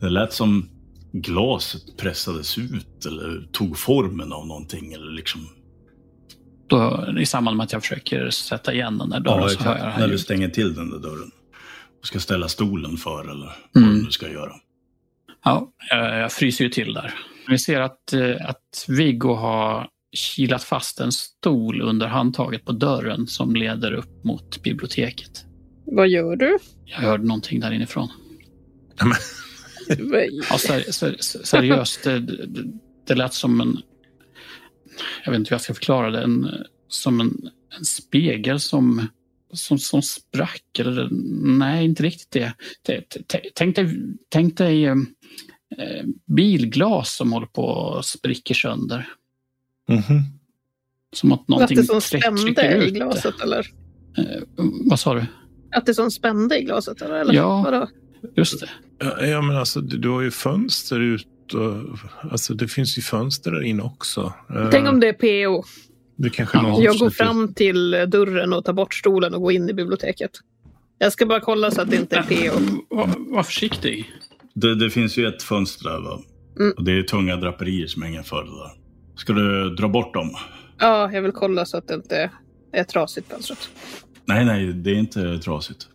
Speaker 1: Det lät som glaset pressades ut eller tog formen av någonting. Eller liksom.
Speaker 3: Då, I samband med att jag försöker sätta igen den där dörren så hör jag det här
Speaker 1: När du
Speaker 3: ljudet.
Speaker 1: stänger till den där dörren. Och ska ställa stolen för eller vad
Speaker 3: Mm.
Speaker 1: du ska göra.
Speaker 3: Ja, jag jag fryser ju till där. Vi ser att, eh, att Viggo har kilat fast en stol under handtaget på dörren som leder upp mot biblioteket.
Speaker 2: Vad gör du?
Speaker 3: Jag hörde någonting där inifrån.
Speaker 2: Vad-
Speaker 3: Ja, ser, ser, ser- seriöst, det, det, det lät som en... Jag vet inte hur jag ska förklara det. En, som en, en spegel som, som, som sprack. Eller, nej, inte riktigt det. T- t- t- Tänk dig, tänk dig eh, eh, bilglas som håller på och spricker sönder.
Speaker 4: Mhm.
Speaker 3: Som att
Speaker 2: Att
Speaker 3: någonting
Speaker 2: det som
Speaker 3: tryck- trycker
Speaker 2: spände i
Speaker 3: ut det.
Speaker 2: glaset eller?
Speaker 3: Eh, Vad sa du?
Speaker 2: Att det som spände i glaset eller? eller?
Speaker 3: Ja.
Speaker 2: Vadå?
Speaker 3: Just det.
Speaker 4: Ja, ja, men alltså, du, du har ju fönster ut. Och, alltså, det finns ju fönster där inne också. Eh,
Speaker 2: Tänk om det är PO.
Speaker 4: det kanske är
Speaker 3: Ja,
Speaker 4: någon
Speaker 2: Jag går
Speaker 4: försöker-
Speaker 2: fram till eh, dörren och tar bort stolen och går in i biblioteket. Jag ska bara kolla så att det inte är PO.
Speaker 3: Var, var försiktig.
Speaker 1: Det, det finns ju ett fönster där va?
Speaker 2: Mm.
Speaker 1: Och det är tunga draperier som hänger för det där. Ska du dra bort dem?
Speaker 2: Ja, jag vill kolla så att det inte är trasigt fönstret.
Speaker 1: Nej, nej, det är inte trasigt.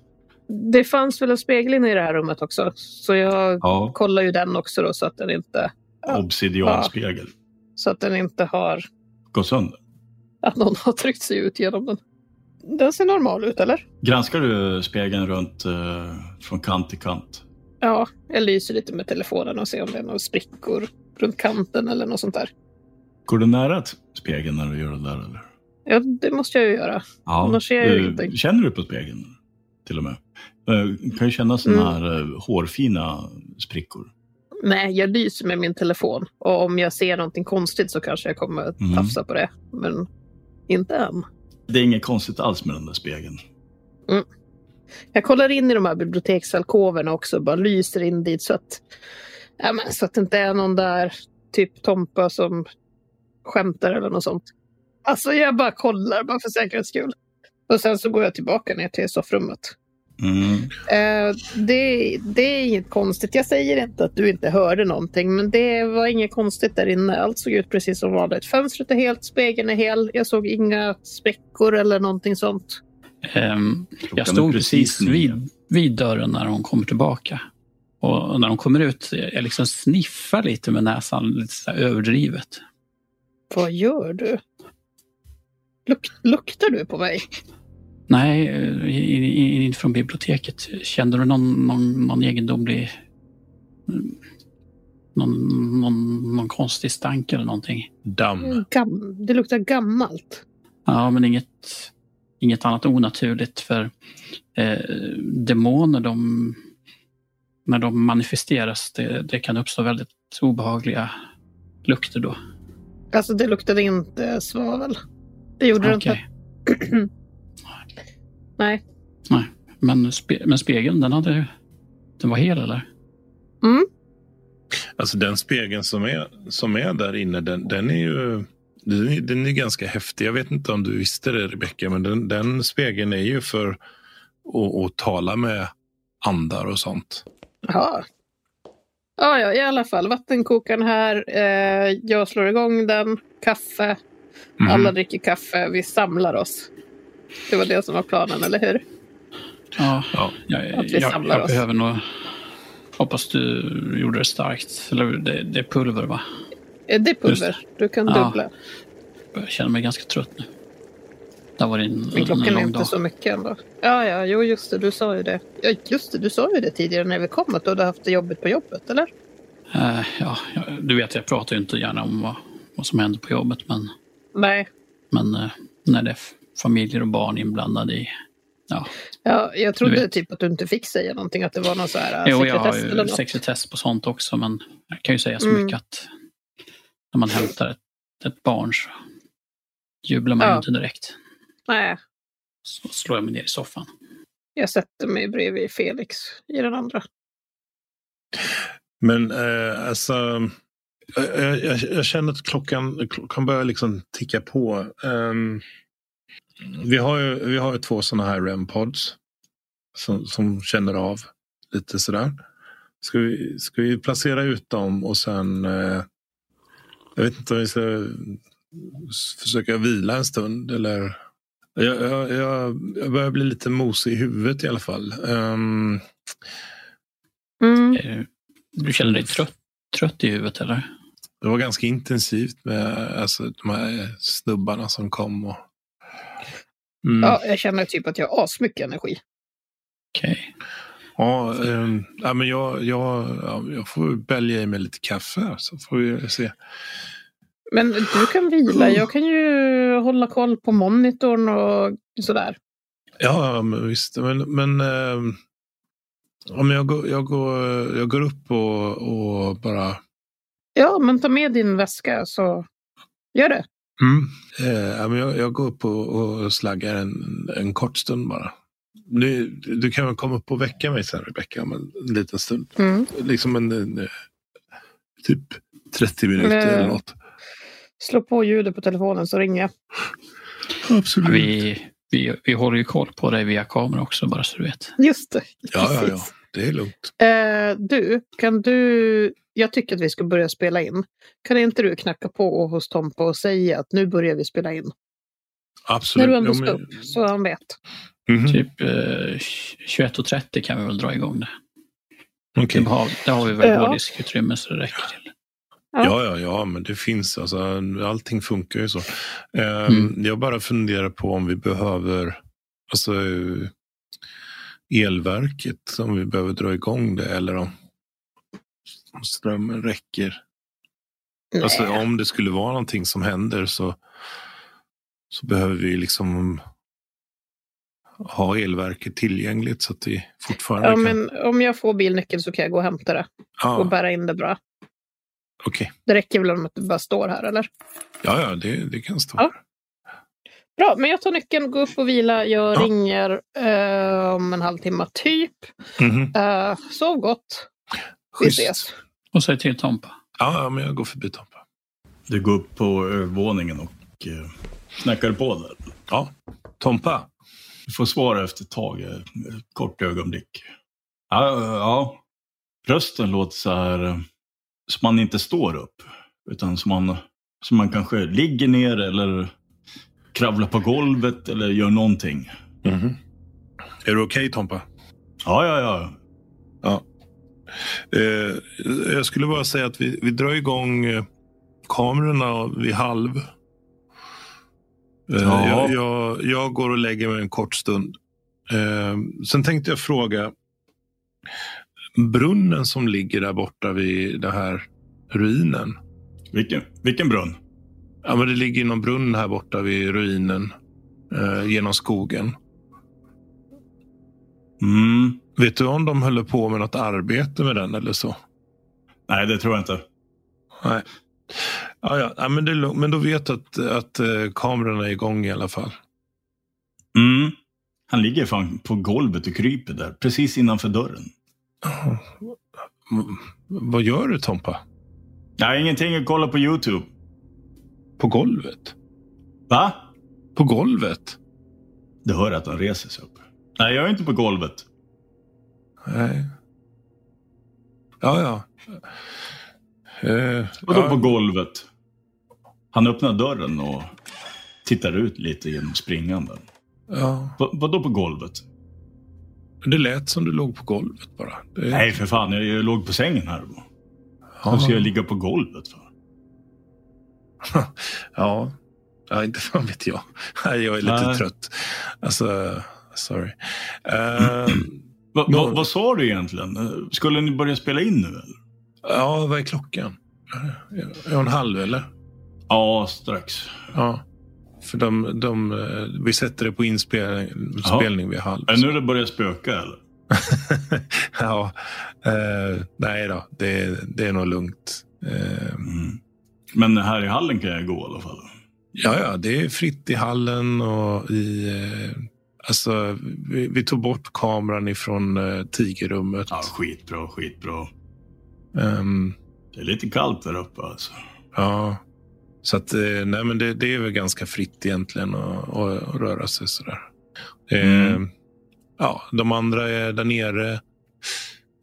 Speaker 2: Det fanns väl en spegel inne i det här rummet också. Så jag
Speaker 1: Ja.
Speaker 2: kollar ju den också då så att den inte,
Speaker 1: Obsidianspegel.
Speaker 2: så att den inte har,
Speaker 1: Gå sönder.
Speaker 2: att någon har tryckt sig ut genom den. Den ser normal ut eller?
Speaker 1: Granskar du spegeln runt eh, från kant till kant?
Speaker 2: Ja, jag lyser lite med telefonen och ser om det är några sprickor runt kanten eller något sånt där.
Speaker 1: Går du nära t- spegeln när du gör det där eller?
Speaker 2: Ja, det måste jag ju göra.
Speaker 1: Ja,
Speaker 2: Annars ser jag ju
Speaker 1: eh,
Speaker 2: ingenting.
Speaker 1: Känner du på spegeln? Till och med. Eh, kan ju känna såna
Speaker 2: Mm.
Speaker 1: här eh, hårfina sprickor.
Speaker 2: Nej, jag lyser med min telefon. Och om jag ser någonting konstigt så kanske jag kommer att
Speaker 1: Mm.
Speaker 2: tafsa på det. Men inte än.
Speaker 1: Det är inget konstigt alls med den där spegeln.
Speaker 2: Jag kollar in i de här biblioteksalkoverna också. Bara lyser in dit så att, ja, men, så att det inte är någon där typ Tompa som skämtar eller något sånt. Alltså jag bara kollar bara för säkerhets skull. Och sen så går jag tillbaka ner till soffrummet.
Speaker 1: Mm.
Speaker 2: Eh, det, det är inget konstigt. Jag säger inte att du inte hörde någonting, men det var inget konstigt där inne. Allt såg ut precis som vanligt. Fönstret är helt, spegeln är hel. Jag såg inga sprickor eller någonting sånt.
Speaker 3: Ehm,
Speaker 1: Klockan
Speaker 3: Jag
Speaker 1: är
Speaker 3: stod precis
Speaker 1: nio.
Speaker 3: vid, vid dörren när hon kommer tillbaka. Och när hon kommer ut, jag liksom sniffar lite med näsan, lite så här överdrivet.
Speaker 2: Vad gör du? Luk, luktar du på mig?
Speaker 3: Nej, eh, i- i- i- inte från biblioteket. Kände du någon, någon, någon egendomlig... mm, Någon, någon, någon konstig stank eller någonting?
Speaker 4: Damm.
Speaker 2: Gam, det luktar gammalt.
Speaker 3: Ja, men inget, inget annat onaturligt för eh, demoner, de, när de manifesteras, det, det kan uppstå väldigt obehagliga lukter då.
Speaker 2: Alltså det luktade inte svavel. Det gjorde det inte.
Speaker 3: Okej.
Speaker 2: Nej.
Speaker 3: Nej, men, spe, men spegeln, den, hade, den var hel eller?
Speaker 2: Mm.
Speaker 4: Alltså den spegeln som är, som är där inne, den, den är ju den är, den är ganska häftig. Jag vet inte om du visste det, Rebecka, men den, den spegeln är ju för att, att tala med andar och sånt.
Speaker 2: Jaha. Ja, ja, i alla fall. Vattenkokaren här. Eh, jag slår igång den. Kaffe.
Speaker 3: Mm-hmm.
Speaker 4: Mhm.
Speaker 2: Alla dricker kaffe, vi samlar oss. Det var det som var planen, eller hur?
Speaker 3: Ja,
Speaker 1: Ja.
Speaker 3: jag,
Speaker 2: Att vi
Speaker 3: jag,
Speaker 2: samlar
Speaker 3: jag
Speaker 2: oss.
Speaker 3: behöver nog... Hoppas du gjorde det starkt. Eller det, det är pulver, va?
Speaker 2: Eh, Det är
Speaker 3: Just
Speaker 2: pulver. Du kan
Speaker 3: Ja.
Speaker 2: dubbla.
Speaker 3: Jag känner mig ganska trött nu. Det har varit en,
Speaker 2: Men
Speaker 3: en
Speaker 2: klockan är
Speaker 3: lång
Speaker 2: inte
Speaker 3: dag.
Speaker 2: så mycket ändå. Ja, ja, jo, just det. Du sa ju det. Ja, just det. Du sa ju det tidigare när vi kom att du hade haft det jobbigt på jobbet, eller?
Speaker 3: Eh, ja, jag- du vet, jag pratar ju inte gärna om vad, vad som händer på jobbet, men,
Speaker 2: Nej.
Speaker 3: men eh, när det är f- familjer och barn inblandade i... Ja,
Speaker 2: Ja, jag trodde
Speaker 3: vet.
Speaker 2: typ att du inte fick säga någonting, att det var någon så här
Speaker 3: jo,
Speaker 2: jo,
Speaker 3: jag har
Speaker 2: sekretess eller
Speaker 3: ju
Speaker 2: något.
Speaker 3: sekretess på sånt också, men jag kan ju säga så
Speaker 2: Mm.
Speaker 3: mycket att när man hämtar ett, ett barn så jublar man ju
Speaker 2: Ja.
Speaker 3: inte direkt.
Speaker 2: Nej,
Speaker 3: Så slår jag mig ner i soffan.
Speaker 2: jag sätter mig bredvid Felix i den andra.
Speaker 4: Men eh, alltså, jag, jag, jag känner att klockan, klockan börjar liksom ticka på. Ehm, vi, har ju, vi har ju två sådana här REM-pods som, som känner av lite sådär. Ska vi, ska vi placera ut dem och sen... Eh, jag vet inte om vi ska s- försöka vila en stund eller... Jag, jag, jag, jag börjar bli lite mosig i huvudet i alla fall. Ehm,
Speaker 2: Mm.
Speaker 3: Eh, Du känner dig trött, trött i huvudet, eller?
Speaker 4: Det var ganska intensivt med alltså, de här snubbarna som kom. Och... Mm. Ja.
Speaker 2: Ja, jag känner typ att jag har asmycket energi.
Speaker 3: Okej.
Speaker 4: ehm, ja, men jag, jag, ja, jag får bälja i mig lite kaffe här, så får vi se.
Speaker 2: Men du kan vila. Jag kan ju hålla koll på monitorn och sådär.
Speaker 4: Ja, men visst. Men, men ehm, om jag, går, jag, går, jag går upp och, och bara...
Speaker 2: Ja, men ta med din väska så gör det.
Speaker 4: Mm. Eh, ja, men jag, jag går upp och, och slaggar en, en kort stund bara. Du, du kan väl komma upp och väcka mig sen, Rebecka, om en liten stund.
Speaker 2: Mm.
Speaker 4: liksom en, en eh, typ 30 minuter
Speaker 2: Nej.
Speaker 4: eller något.
Speaker 2: Slå på ljudet på telefonen så ringer jag. Mm.
Speaker 4: Absolut.
Speaker 3: Vi, vi, vi håller ju koll på dig via kamera också, bara så du vet.
Speaker 2: Just det.
Speaker 4: ja, ja, ja.
Speaker 2: precis.
Speaker 4: Det är lugnt.
Speaker 2: Eh, du, kan du... Jag tycker att vi ska börja spela in. Kan inte du knacka på hos Tompa och säga att nu börjar vi spela in?
Speaker 4: Absolut.
Speaker 2: När du ändå
Speaker 4: Ja,
Speaker 2: ska
Speaker 4: men-
Speaker 2: upp, så han vet. Mm.
Speaker 4: Mhm.
Speaker 3: Typ eh, 21.30 kan vi väl dra igång det.
Speaker 4: Okej.
Speaker 3: Det har, det har vi väl
Speaker 2: Ja.
Speaker 3: både diskutrymme så det räcker till.
Speaker 4: Ja, ja, ja, men det finns. Alltså, allting funkar ju så. Ehm,
Speaker 3: Mm.
Speaker 4: Jag bara funderar på om vi behöver alltså, eh, elverket, om vi behöver dra igång det eller om om strömmen räcker.
Speaker 2: Nej.
Speaker 4: Alltså, om det skulle vara någonting som händer så, så behöver vi liksom ha elverket tillgängligt så att vi fortfarande
Speaker 2: ja,
Speaker 4: kan...
Speaker 2: men om jag får bilnyckeln så kan jag gå och hämta det
Speaker 4: ah,
Speaker 2: och
Speaker 4: Okej.
Speaker 2: bära in det bra. Det räcker väl om att du bara står här, eller?
Speaker 4: Ja, ja, det, det kan stå.
Speaker 2: Ja. Bra, men jag tar nyckeln, går upp och vila. Jag
Speaker 4: Ja.
Speaker 2: ringer eh, om en halvtimme typ.
Speaker 4: Mhm.
Speaker 2: Eh, sov gott. Vi
Speaker 4: Schysst.
Speaker 2: ses.
Speaker 3: Och säg till Tompa.
Speaker 4: Ja, ja, men jag går förbi Tompa.
Speaker 1: Du går upp på övervåningen och eh, knackar på där.
Speaker 4: Ja, Tompa.
Speaker 1: Du får svar efter ett tag, eh, ett kort ögonblick. Ja, ja, ja. Rösten låter så här eh, som man inte står upp, utan som man, som man kanske ligger ner eller kravlar på golvet eller gör någonting.
Speaker 4: Är du okej Tompa?
Speaker 1: Ja, ja, ja.
Speaker 4: Eh, jag skulle bara säga att vi, vi drar igång eh, kamerorna vid halv. Eh,
Speaker 1: Ja.
Speaker 4: jag, jag, jag går och lägger mig en kort stund. Eh, sen tänkte jag fråga. Brunnen som ligger där borta vid den här ruinen.
Speaker 1: Vilken, vilken brunn?
Speaker 4: Ja, men det ligger någon brunn här borta vid ruinen. Eh, genom skogen.
Speaker 1: Mm.
Speaker 4: Vet du om de höll på med något arbete med den eller så?
Speaker 1: Nej, det tror jag inte.
Speaker 4: Nej. Ja, ja. ja men, det är lugnt. men då vet du att, att eh, kamerorna är igång i alla fall.
Speaker 1: Mm. Han ligger fan på golvet och kryper där, precis innanför dörren.
Speaker 4: Mm. Vad gör du Tompa?
Speaker 1: Nej, ingenting att kolla på YouTube.
Speaker 4: På golvet?
Speaker 1: Va?
Speaker 4: På golvet?
Speaker 1: Du hör att han reser sig upp. Nej, jag är inte på golvet.
Speaker 4: Nej. Ja, ja. Eh,
Speaker 1: Vadå
Speaker 4: ja.
Speaker 1: på golvet? Han öppnar dörren och Tittar ut lite genom springan där.
Speaker 4: Ja.
Speaker 1: Va, vadå på golvet?
Speaker 4: Det lät som du låg på golvet bara. Det,
Speaker 1: Nej för fan, jag, jag låg på sängen här. Då.
Speaker 4: ja.
Speaker 1: Vad ska jag ligga på golvet för?
Speaker 4: ja. ja, inte fan vet jag. Nej, Jag är lite
Speaker 1: Nej.
Speaker 4: trött. Alltså, sorry. Eh,
Speaker 1: Va, va, vad sa du egentligen? Eh, Skulle ni börja spela in nu eller?
Speaker 4: ja, vad är klockan? Är hon halv eller?
Speaker 1: Ja, strax.
Speaker 4: Ja. För de, de, eh, vi sätter det på inspelning
Speaker 1: Ja.
Speaker 4: spelning vid halv.
Speaker 1: Är Äh, nu det börjar spöka eller?
Speaker 4: ja. Eh, nej då, det, det är nog lugnt. Eh,
Speaker 1: Mm. Men här i hallen kan jag gå i alla fall.
Speaker 4: ja, ja, det är fritt i hallen och i... Eh, alltså, vi, vi tog bort kameran ifrån eh, tigerrummet.
Speaker 1: Ja, skitbra, skitbra.
Speaker 4: Ehm,
Speaker 1: Det är lite kallt där uppe alltså.
Speaker 4: ja. Så att, eh, nej men det, det är väl ganska fritt egentligen att, att, att röra sig sådär. Eh,
Speaker 1: Mm.
Speaker 4: Ja, de andra är där nere.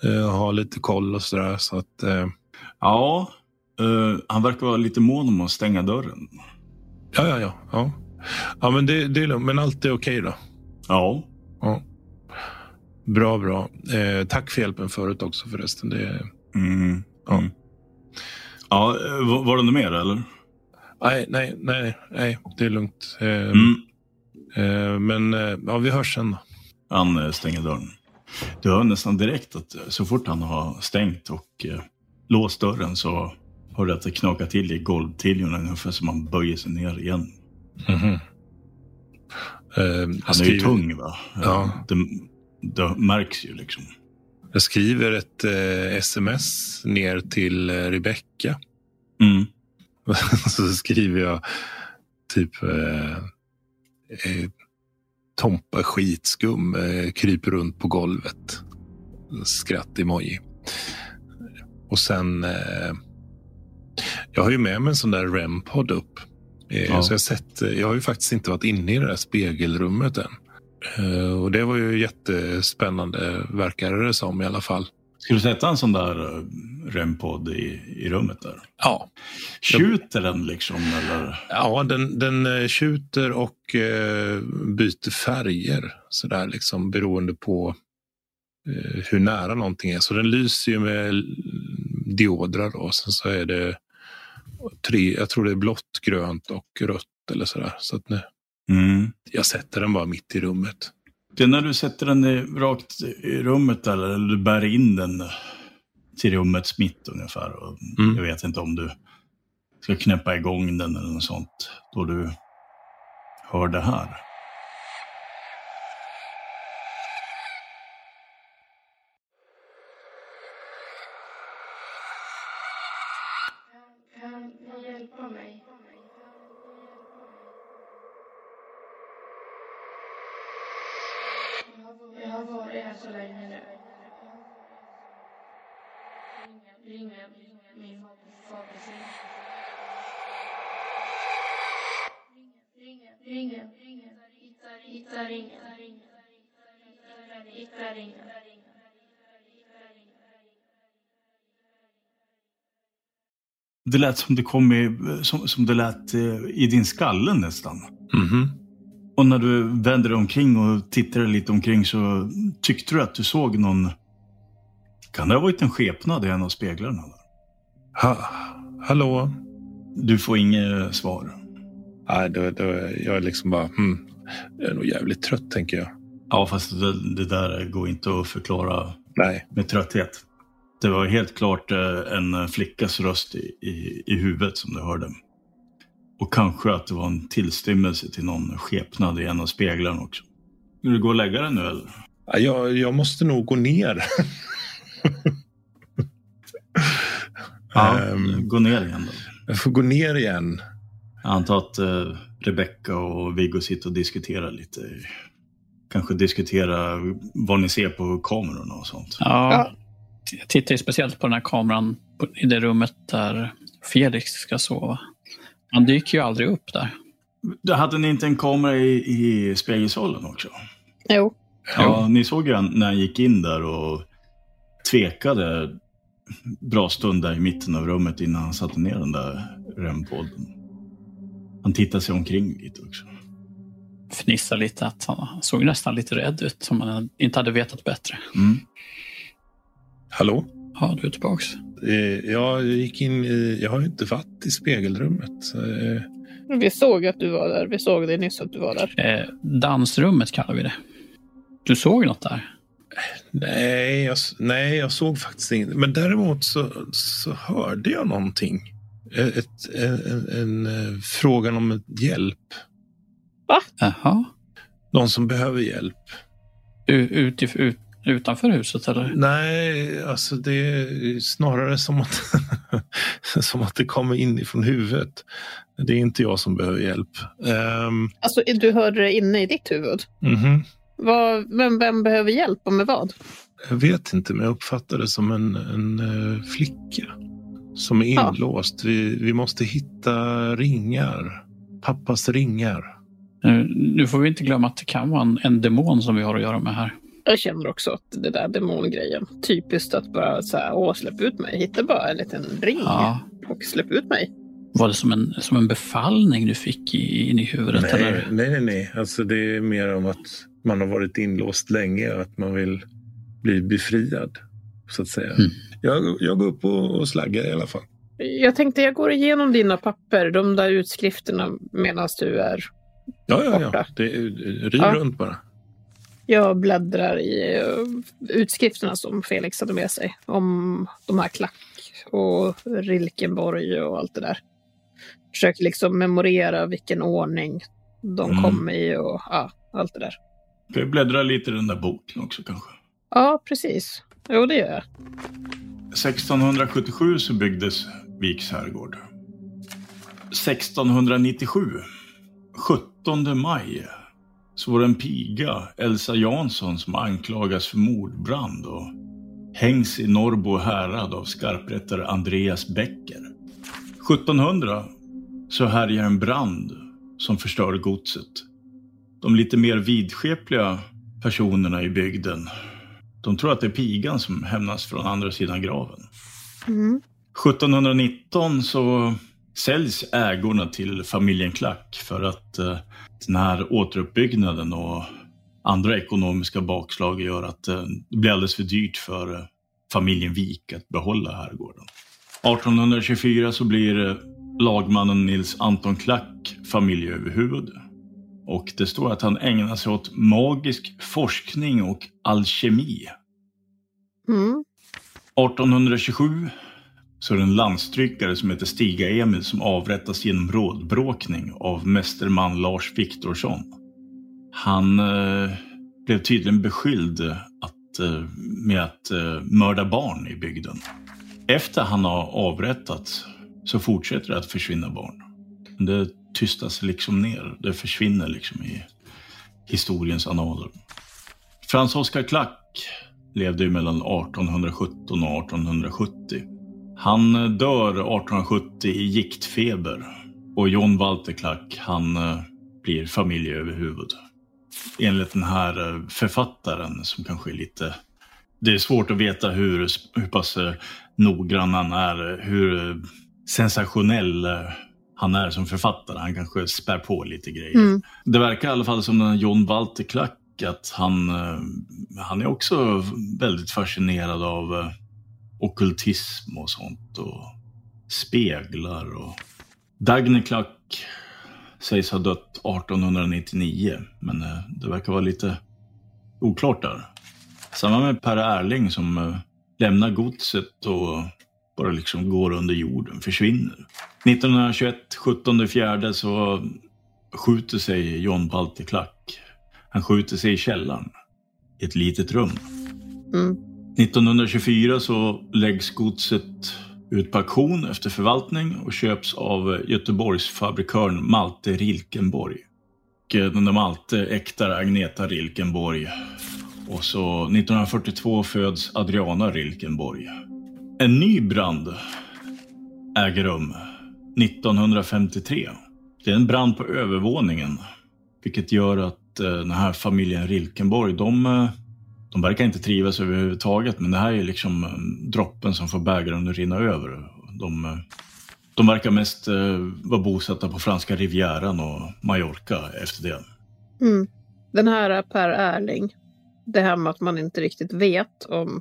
Speaker 4: Eh, har lite koll och sådär. Så att, eh,
Speaker 1: Ja, eh, han verkar vara lite mån om att stänga dörren.
Speaker 4: ja, ja, ja. Ja, ja men det, det är lugnt. Men allt är okej då.
Speaker 1: Ja,
Speaker 4: Bra, bra. Eh, tack för hjälpen förut också förresten. Det,
Speaker 1: Mm.
Speaker 4: Ja.
Speaker 1: Mm. Ja, eh, var, var det något mer eller?
Speaker 4: Mm. nej, nej, nej, nej, det är lugnt. Eh,
Speaker 1: Mm.
Speaker 4: eh, men eh, ja, vi hörs sen då.
Speaker 1: Han eh, stänger dörren. Du hör nästan direkt att eh, så fort han har stängt och eh, låst dörren så har det att det knakar till i golvtiljorna ungefär som man böjer sig ner igen.
Speaker 4: Eh,
Speaker 1: Mhm. Han
Speaker 4: jag,
Speaker 1: är ju
Speaker 4: skriver,
Speaker 1: tung va? Eh,
Speaker 4: Ja.
Speaker 1: Det, det märks ju liksom.
Speaker 4: jag skriver ett eh, sms ner till eh, Rebecka.
Speaker 1: Mm.
Speaker 4: så skriver jag typ eh, eh, Tompa skitskum eh, kryper runt på golvet. Skratt-emoji. Och sen... Eh, jag har ju med mig en sån där REM-podd upp. Eh,
Speaker 1: Ja.
Speaker 4: Så jag, har sett, jag har ju faktiskt inte varit inne i det där spegelrummet än. Eh, och det var ju jättespännande, verkar det som i alla fall.
Speaker 1: Ska du sätta en sån där eh, rempod i, i rummet där?
Speaker 4: Ja,
Speaker 1: Tjuter den liksom eller?
Speaker 4: Ja, den, den eh, tjuter och eh, byter färger sådär liksom beroende på eh, hur nära någonting är. Så den lyser ju med l- diodrar då. Sen så är det tre, jag tror det är blått, grönt och rött eller sådär. Så att nu,
Speaker 1: Mm.
Speaker 4: jag sätter den bara mitt i rummet.
Speaker 1: Det är när du sätter den i, rakt i rummet eller, eller du bär in den till rummets mitt ungefär. Och
Speaker 4: Mm.
Speaker 1: Jag vet inte om du ska knäppa igång den eller något sånt då du hör det här.
Speaker 5: Kan ni hjälpa mig? Jag har varit här så länge nu. Ring min fabrik. Ringen, ringen, hittar, hittar ringen. Hittar, hittar ringen.
Speaker 1: Det lät som det kom i, som, som det lät eh, i din skalle nästan.
Speaker 4: Mhm.
Speaker 1: Och när du vände dig omkring och tittade lite omkring så tyckte du att du såg någon... Kan det ha varit en skepnad i en av speglarna?
Speaker 4: Ha, hallå?
Speaker 1: Du får inget svar.
Speaker 4: Nej, då, då, jag är liksom bara, hmm, jag är nog jävligt trött tänker jag.
Speaker 1: Ja, fast det, det där går inte att förklara
Speaker 4: Nej.
Speaker 1: med trötthet. Det var helt klart eh, en flickas röst i, i, i huvudet som du hörde. Och kanske att det var en tillstymmelse till någon skepnad i en av speglarna också. Ska du gå och lägga dig nu eller?
Speaker 4: Ja, Jag, jag måste nog gå ner. Ehm,
Speaker 1: Gå ner igen då.
Speaker 4: jag får gå ner igen.
Speaker 1: Jag antar att eh, Rebecca och Viggo sitter och diskuterar lite. Kanske diskutera vad ni ser på kamerorna och sånt.
Speaker 3: Ja,
Speaker 2: Ja.
Speaker 3: jag tittar ju speciellt på den här kameran på- i det rummet där Felix ska sova. Han dyker ju aldrig upp där.
Speaker 1: Då Hade ni inte en kamera i, i spegelsalen också?
Speaker 2: Jo,
Speaker 1: Ja, ni såg ju han- när han gick in där och tvekade bra stund där i mitten av rummet innan han satte ner den där rempodden. Han tittar sig omkring lite också.
Speaker 3: Fnissar lite att han han såg nästan lite rädd ut, som han inte hade vetat bättre.
Speaker 1: Mm.
Speaker 4: Hallå?
Speaker 3: Ja, du är tillbaks.
Speaker 4: Eh, jag gick in i... Jag har inte varit i spegelrummet. Eh,
Speaker 2: Vi såg att du var där. Vi såg det nyss att du var där.
Speaker 3: Eh, dansrummet kallar vi det. Du såg något där?
Speaker 4: nej, jag, s- nej, jag såg faktiskt inget. Men däremot så, så hörde jag någonting. Eh, Ett, en, en, en eh, frågan om hjälp.
Speaker 3: Jaha.
Speaker 4: Någon som behöver hjälp.
Speaker 3: U- utif- ut- utanför huset eller?
Speaker 4: Nej, alltså det är snarare som att, som att det kommer inifrån huvudet. Det är inte jag som behöver hjälp. Ehm,
Speaker 2: Alltså, du hörde det inne i ditt huvud.
Speaker 4: mhm.
Speaker 2: Vad, vem, vem behöver hjälp och med vad?
Speaker 4: Jag vet inte, men jag uppfattar det som en, en eh, flicka som är
Speaker 2: Ja.
Speaker 4: inlåst. Vi, vi måste hitta ringar. Pappas ringar.
Speaker 3: Nu, nu får vi inte glömma att det kan vara en, en demon som vi har att göra med här.
Speaker 2: Jag känner också att det där demongrejen. Typiskt att bara så här, åh, släpp ut mig. Hitta bara en liten ring
Speaker 3: Ja.
Speaker 2: och släpp ut mig.
Speaker 3: Var det som en, som en befallning du fick i, in i huvudet?
Speaker 4: Nej,
Speaker 3: Eller?
Speaker 4: nej, nej, nej. Alltså det är mer om att man har varit inlåst länge och att man vill bli befriad. Så att säga.
Speaker 3: Mm.
Speaker 4: Jag, jag går upp och, och slaggar i alla fall.
Speaker 2: Jag tänkte jag går igenom dina papper, de där utskrifterna, medan du är...
Speaker 4: Ja, ja, ja.
Speaker 2: borta.
Speaker 4: Det är, riv
Speaker 2: Ja.
Speaker 4: runt bara.
Speaker 2: Jag bläddrar i eh, utskrifterna som Felix hade med sig. Om de här klack och Rilkenborg och allt det där. Försöker liksom memorera vilken ordning de
Speaker 1: Mm.
Speaker 2: kom i och ja, allt det där.
Speaker 1: Ska vi bläddra lite i den där boken också kanske?
Speaker 2: Ja, precis. Jo, det gör jag.
Speaker 1: 1677 så byggdes Viks herrgård. 1697, 17 maj, så var det en piga, Elsa Jansson, som anklagas för mordbrand och hängs i Norrbo härad av skarprättare Andreas Becker. 1700 så härjar en brand som förstör godset. De lite mer vidskepliga personerna i bygden de tror att det är pigan som hämnas från andra sidan graven.
Speaker 2: Mm.
Speaker 1: 1719 så säljs ägorna till familjen Klack för att eh, den här återuppbyggnaden och andra ekonomiska bakslag gör att eh, det blir alldeles för dyrt för eh, familjen Wik att behålla herrgården. 1824 så blir eh, lagmannen Nils Anton Klack familjeöverhuvud. Och det står att han ägnar sig åt magisk forskning och alkemi.
Speaker 2: Mm.
Speaker 1: 1827 så är det en landstrykare som heter Stiga Emil som avrättas genom rådbråkning av mästerman Lars Viktorsson. Han eh, blev tydligen beskylld att, eh, med att eh, mörda barn i bygden. Efter han har avrättats så fortsätter det att försvinna barn. Men Det tystas liksom ner, det försvinner liksom i historiens annaler. Frans Oskar Klack levde ju mellan 1817 och 1870. Han eh, dör 1870 i giktfeber och John Walter Klack, han eh, blir familjeöverhuvud. Enligt den här eh, författaren som kanske är lite... Det är svårt att veta hur, hur pass eh, noggrann han är, eh, hur eh, sensationell eh, han är som författare. Han kanske spär på lite grejer.
Speaker 2: Mm.
Speaker 1: Det verkar i alla fall som den här John Walter Klack att han, eh, han är också väldigt fascinerad av eh, ockultism och sånt och speglar och Dagny Klack sägs ha dött 1899 men eh, det verkar vara lite oklart där. Samma med Per Erling som eh, lämnar godset och bara liksom går under jorden, försvinner. 1921, 17 fjärde så skjuter sig John Walter Klack. Han skjuter sig i källaren, i ett litet rum.
Speaker 2: Mm.
Speaker 1: 1924 så läggs godset ut på auktion efter förvaltning och köps av Göteborgsfabrikören Malte Rilkenborg. Och eh, den där Malte äktar Agneta Rilkenborg. Och så 1942 föds Adriana Rilkenborg. En ny brand äger rum 1953. Det är en brand på övervåningen. Vilket gör att eh, den här familjen Rilkenborg, de, eh, de verkar inte trivas överhuvudtaget. Men det här är liksom eh, droppen som får bägaren att rinna över. De eh, De verkar mest eh, vara bosatta på franska rivieran och Mallorca efter det.
Speaker 2: Mm. Den här Per Erling, det här med att man inte riktigt vet om,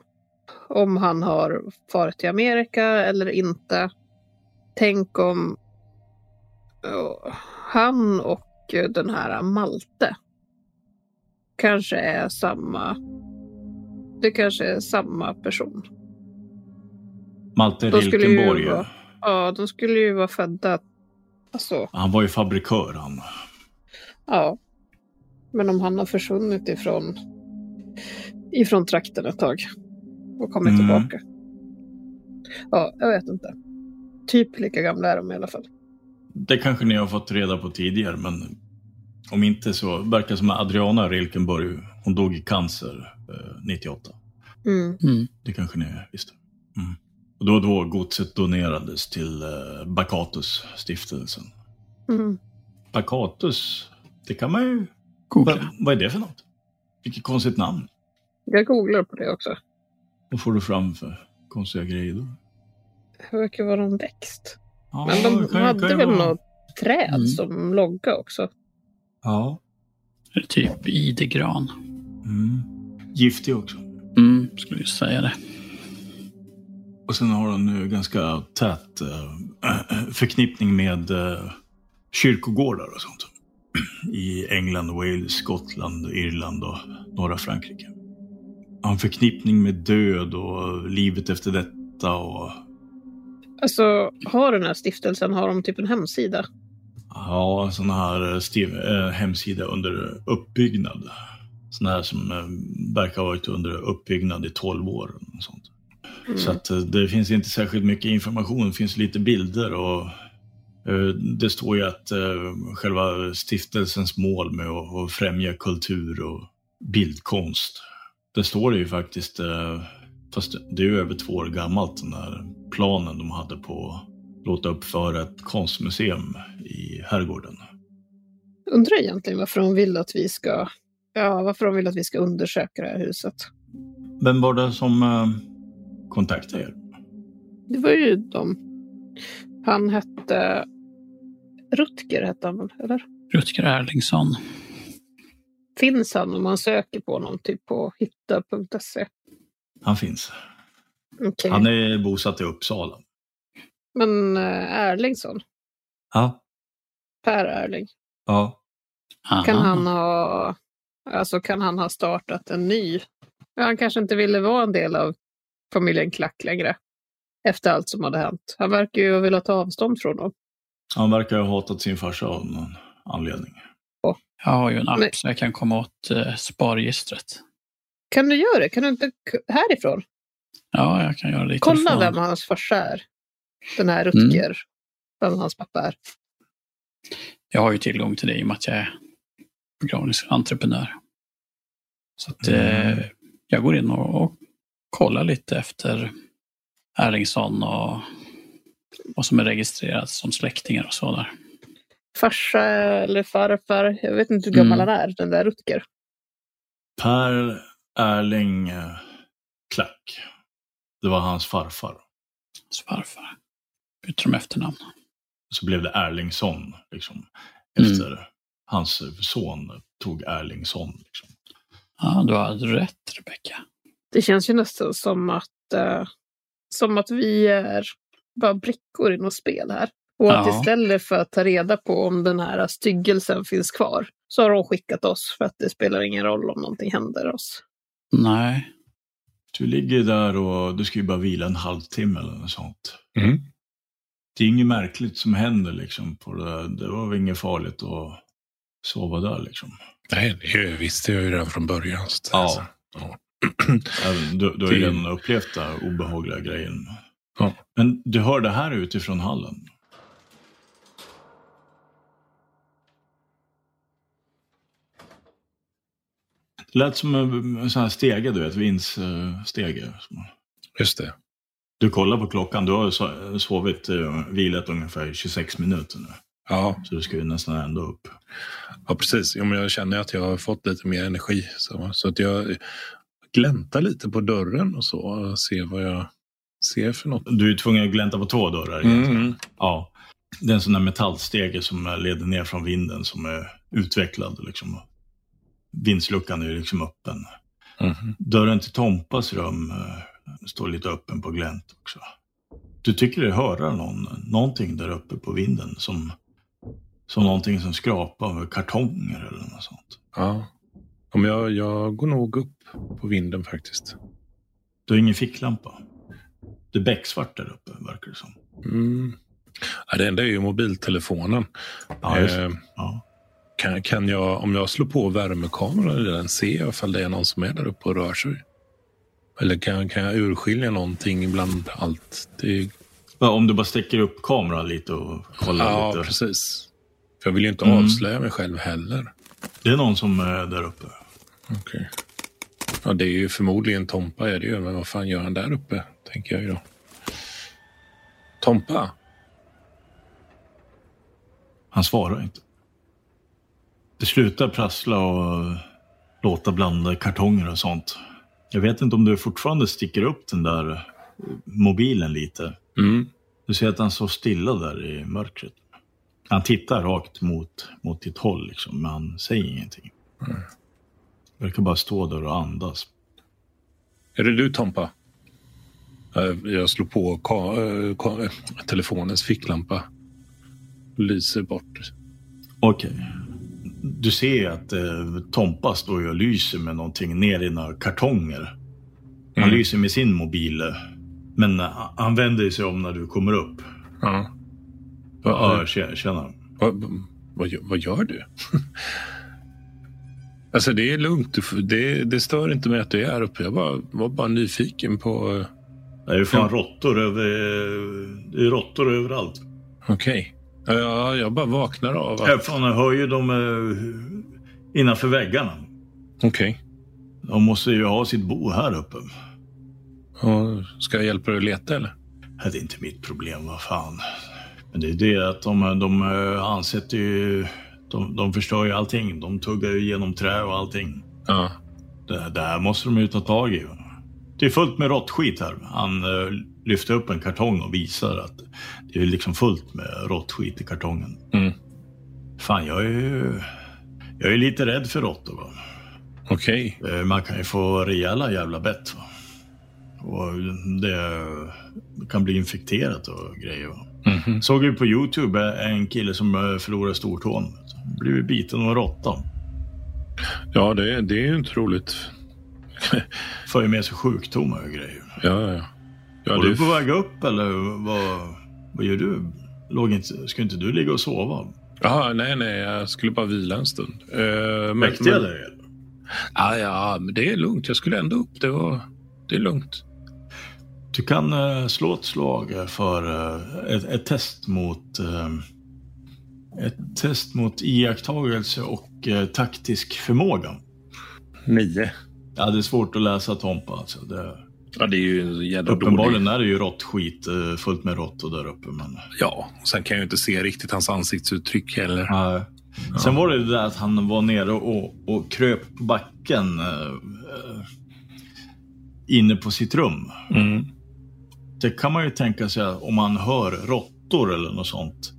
Speaker 2: om han har farit till Amerika eller inte. Tänk om ja, han och eh, den här Malte kanske är samma. Det kanske är samma person.
Speaker 1: Malte
Speaker 2: Då skulle ju
Speaker 1: Rilkenborg,
Speaker 2: vara- Ja, de skulle ju vara födda. Alltså,
Speaker 1: han var ju fabrikör han.
Speaker 2: ja. Men om han har försvunnit ifrån, ifrån trakten ett tag och kommit
Speaker 1: Mm.
Speaker 2: tillbaka. Ja, jag vet inte. Typ lika gamla är de i alla fall.
Speaker 1: Det kanske ni har fått reda på tidigare, men om inte så verkar som att Adriana Rilkenborg, hon dog i cancer eh, 98.
Speaker 2: Mm.
Speaker 3: Mm.
Speaker 1: Det kanske ni visste. Mm. Och då och då godset donerades till eh, Bakatus-stiftelsen.
Speaker 2: Mm.
Speaker 1: Bakatus, det kan man ju...
Speaker 3: Googla.
Speaker 1: Vad, vad är det för något? Vilket konstigt namn.
Speaker 2: Jag googlar på det också.
Speaker 1: Vad får du fram för konstiga grejer då?
Speaker 2: Det verkar vara en växt.
Speaker 1: Ja,
Speaker 2: Men
Speaker 1: det
Speaker 2: de
Speaker 1: kan ju-
Speaker 2: hade
Speaker 1: kan ju
Speaker 2: väl
Speaker 1: vara-
Speaker 2: något träd
Speaker 3: Mm.
Speaker 2: som logga också.
Speaker 1: Ja.
Speaker 3: Eller Typ idegran.
Speaker 1: Mm. Giftig också.
Speaker 3: Mm, skulle ju säga det.
Speaker 1: Och sen har hon nu ganska tät eh, förknippning med eh, kyrkogårdar och sånt. I England, Wales, Skottland, Irland och norra Frankrike. Har en förknippning med död och livet efter detta och
Speaker 2: Alltså, har den här stiftelsen, har de typ en hemsida?
Speaker 1: ja, sån här eh, stiv, eh, hemsida under uppbyggnad. Sån här som eh, verkar ha varit under uppbyggnad i 12 år. Och sånt.
Speaker 2: Mm.
Speaker 1: Så att eh, det finns inte särskilt mycket information, det finns lite bilder och eh, det står ju att eh, själva stiftelsens mål med att att främja kultur och bildkonst. Det står det ju faktiskt, eh, fast det är ju över två år gammalt, den här planen de hade på att låta uppföra ett konstmuseum i herrgården.
Speaker 2: Undrar egentligen varför de vill att vi ska Ja, varför de vill att vi ska undersöka det här huset.
Speaker 1: Vem var det som eh, kontaktade er?
Speaker 2: Det var ju de. Han hette... Rutger hette han väl, eller?
Speaker 3: Rutger Erlingsson.
Speaker 2: Finns han om man söker på honom, typ på hitta.se?
Speaker 1: Han finns.
Speaker 2: Okej.
Speaker 1: Han är bosatt i Uppsala.
Speaker 2: Men eh, Erlingsson,
Speaker 1: Ja.
Speaker 2: Per Erling,
Speaker 1: Ja.
Speaker 2: kan
Speaker 3: Aha.
Speaker 2: han ha... Alltså kan han ha startat en ny? Ja, han kanske inte ville vara en del av familjen Klack längre. Efter allt som hade hänt. Han verkar ju ha velat ta avstånd från dem.
Speaker 1: Han verkar ha hatat sin farsa av någon anledning.
Speaker 3: Jag har ju en app
Speaker 2: Men-
Speaker 3: så jag kan komma åt eh, sparregistret.
Speaker 2: Kan du göra det? Kan du inte k- härifrån?
Speaker 3: Ja, jag kan göra det i
Speaker 2: Kolla
Speaker 3: telefon.
Speaker 2: vem hans farsa är. Den här Rutger. Vem hans pappa är.
Speaker 3: Jag har ju tillgång till det i och med att jag är begravningsentreprenör. Så att,
Speaker 1: Mm.
Speaker 3: eh, jag går in och, och kollar lite efter Erlingsson och vad som är registrerat som släktingar och så där.
Speaker 2: Farsa eller farfar. Jag vet inte hur gammal
Speaker 3: Mm.
Speaker 2: han är, den där Rutger.
Speaker 1: Per Erling eh, Klack. Det var hans farfar.
Speaker 3: Så varför byter de efternamn?
Speaker 1: Så blev det Erlingsson, liksom.
Speaker 3: Mm.
Speaker 1: Efter hans son tog Erlingsson. Liksom.
Speaker 3: Ja, du har rätt Rebecka.
Speaker 2: Det känns ju nästan som att, eh, som att vi är bara brickor i något spel här. Och att
Speaker 3: Ja.
Speaker 2: istället för att ta reda på om den här styggelsen finns kvar så har de skickat oss för att det spelar ingen roll om någonting händer oss.
Speaker 3: Nej,
Speaker 1: Du ligger där och du ska ju bara vila en halvtimme eller något sånt.
Speaker 4: Mm.
Speaker 1: Det är inget märkligt som händer liksom. På det, det var väl inget farligt att sova där liksom.
Speaker 4: Nej, det visste jag ju redan från början. så att-
Speaker 1: Ja.
Speaker 4: alltså.
Speaker 1: Även- Alltså, Du, du har ju
Speaker 4: Det-
Speaker 1: redan upplevt den här obehagliga grejen.
Speaker 4: Ja.
Speaker 1: Men du hör det här utifrån hallen. Det lät som en, en sån här stege, du vet, vindsstege.
Speaker 4: Just det.
Speaker 1: Du kollar på klockan, du har ju so- sovit, eh, vilat ungefär 26 minuter nu.
Speaker 4: Ja,
Speaker 1: Så du ska ju nästan ändå upp.
Speaker 4: ja precis. Jo, men jag känner att jag har fått lite mer energi. Så, så att jag gläntar lite på dörren och så. Och ser vad jag ser för något.
Speaker 1: Du är tvungen att glänta på två dörrar.
Speaker 4: Mm.
Speaker 1: egentligen.
Speaker 4: mm.
Speaker 1: Ja. Det är en sån där metallstege som eh, leder ner från vinden som är utvecklad. Liksom. Vindsluckan är ju liksom öppen.
Speaker 4: Mhm.
Speaker 1: Dörren till Tompas rum eh, står lite öppen på glänt också. Du tycker dig höra någon, någonting där uppe på vinden som, som någonting som skrapar med kartonger eller något sånt.
Speaker 4: Ja. Om jag, jag går nog upp på vinden faktiskt.
Speaker 1: Du har ingen ficklampa. Det är becksvart där uppe verkar det som.
Speaker 4: Mm. Ja, det enda är ju mobiltelefonen.
Speaker 1: Ja, just det.
Speaker 4: Eh,
Speaker 1: Ja.
Speaker 4: kan, kan jag, om jag slår på värmekameran i den, ser jag ifall det är någon som är där uppe och rör sig? Eller kan, kan jag urskilja någonting bland allt? Det,
Speaker 1: Ja, Om du bara sticker upp kameran lite och kollar
Speaker 4: ja,
Speaker 1: lite.
Speaker 4: precis. För jag vill ju inte
Speaker 1: Mm.
Speaker 4: avslöja mig själv heller.
Speaker 1: Det är någon som är där uppe.
Speaker 4: Okay. Ja, det är ju förmodligen Tompa är det ju, men vad fan gör han där uppe? Tänker jag ju då. Tompa?
Speaker 1: Han svarar inte. Det slutar prassla och låta blanda kartonger och sånt. Jag vet inte om du fortfarande sticker upp den där eh, mobilen lite.
Speaker 4: Mm.
Speaker 1: Du ser att han står stilla där i mörkret. Han tittar rakt mot, mot ditt håll, liksom, men han säger ingenting. Verkar bara stå där och andas.
Speaker 4: Är det du Tompa? Eh, Jag slår på ka- eh, ka- eh, telefonens ficklampa. Lyser bort.
Speaker 1: Okej. Du ser att eh, Tompa står ju och lyser med någonting ner i några kartonger. Han
Speaker 4: Mm.
Speaker 1: lyser med sin mobil. eh, Men eh, han- han vänder sig om när du kommer upp.
Speaker 4: Ja.
Speaker 1: Ja,
Speaker 4: Vad,
Speaker 1: jag känner- känner.
Speaker 4: vad, vad, gör- vad gör du? alltså det är lugnt. Du får- Det, det stör inte mig att du är här uppe. Jag bara, var bara nyfiken på... eh,
Speaker 1: Det är ju fan råttor över... eh, Det är råttor överallt.
Speaker 4: Okej. Ja, Ja, jag bara vaknar av. att-
Speaker 1: Jag, fan, jag hör ju dem eh, innanför väggarna.
Speaker 4: Okej.
Speaker 1: De måste ju ha sitt bo här uppe.
Speaker 4: Ja, Ska jag hjälpa dig att leta eller?
Speaker 1: Det är inte mitt problem, vad fan. Men det är det att de, de eh, ansätter ju... De, de förstör ju allting. De tuggar ju genom trä och allting.
Speaker 4: Ja.
Speaker 1: Det, det här måste de ju ta tag i. Det är fullt med råttskit här. Han eh, lyfter upp en kartong och visar att det är liksom fullt med råttskit i kartongen.
Speaker 4: Mm.
Speaker 1: Fan, jag är ju... Jag är lite rädd för råttor. Va?
Speaker 4: Okej.
Speaker 1: Eh, Man kan ju få rejäla jävla bett. Va? Och det kan bli infekterat och grejer. Va?
Speaker 4: Mhm.
Speaker 1: Såg ju på Youtube eh, en kille som eh, förlorade stortån. vet du. Blev biten av en råtta.
Speaker 4: Ja, det, det är ju inte roligt.
Speaker 1: För ju med sig sjukdomar och grejer.
Speaker 4: Ja, ja, ja. ja.
Speaker 1: Var
Speaker 4: det-
Speaker 1: du på väg upp eller vad, vad gör du? Låg inte, ska inte du ligga och sova?
Speaker 4: Jaha, nej, nej, jag skulle bara vila en stund. Eh, men-
Speaker 1: Mäktig
Speaker 4: men-
Speaker 1: eller?
Speaker 4: Ja, ja, men det är lugnt. Jag skulle ändå upp. Det, var, det är lugnt.
Speaker 1: Du kan eh, slå ett slag eh, för eh, ett, ett test mot eh, ett test mot iakttagelse och eh, taktisk förmåga.
Speaker 4: Nio.
Speaker 1: Ja, det är svårt att läsa Tompa alltså. Det,
Speaker 4: Ja, det är ju en jävla
Speaker 1: uppenbarligen
Speaker 4: dålig...
Speaker 1: är det ju rått skit, eh, fullt med råttor där uppe. Men, eh.
Speaker 4: Ja, och sen kan jag ju inte se riktigt hans ansiktsuttryck heller.
Speaker 1: Nej. Sen var det det där att han var nere och, och kröp på backen eh, eh, inne på sitt rum.
Speaker 4: Mm.
Speaker 1: Det kan man ju tänka sig att om man hör råttor eller något sånt.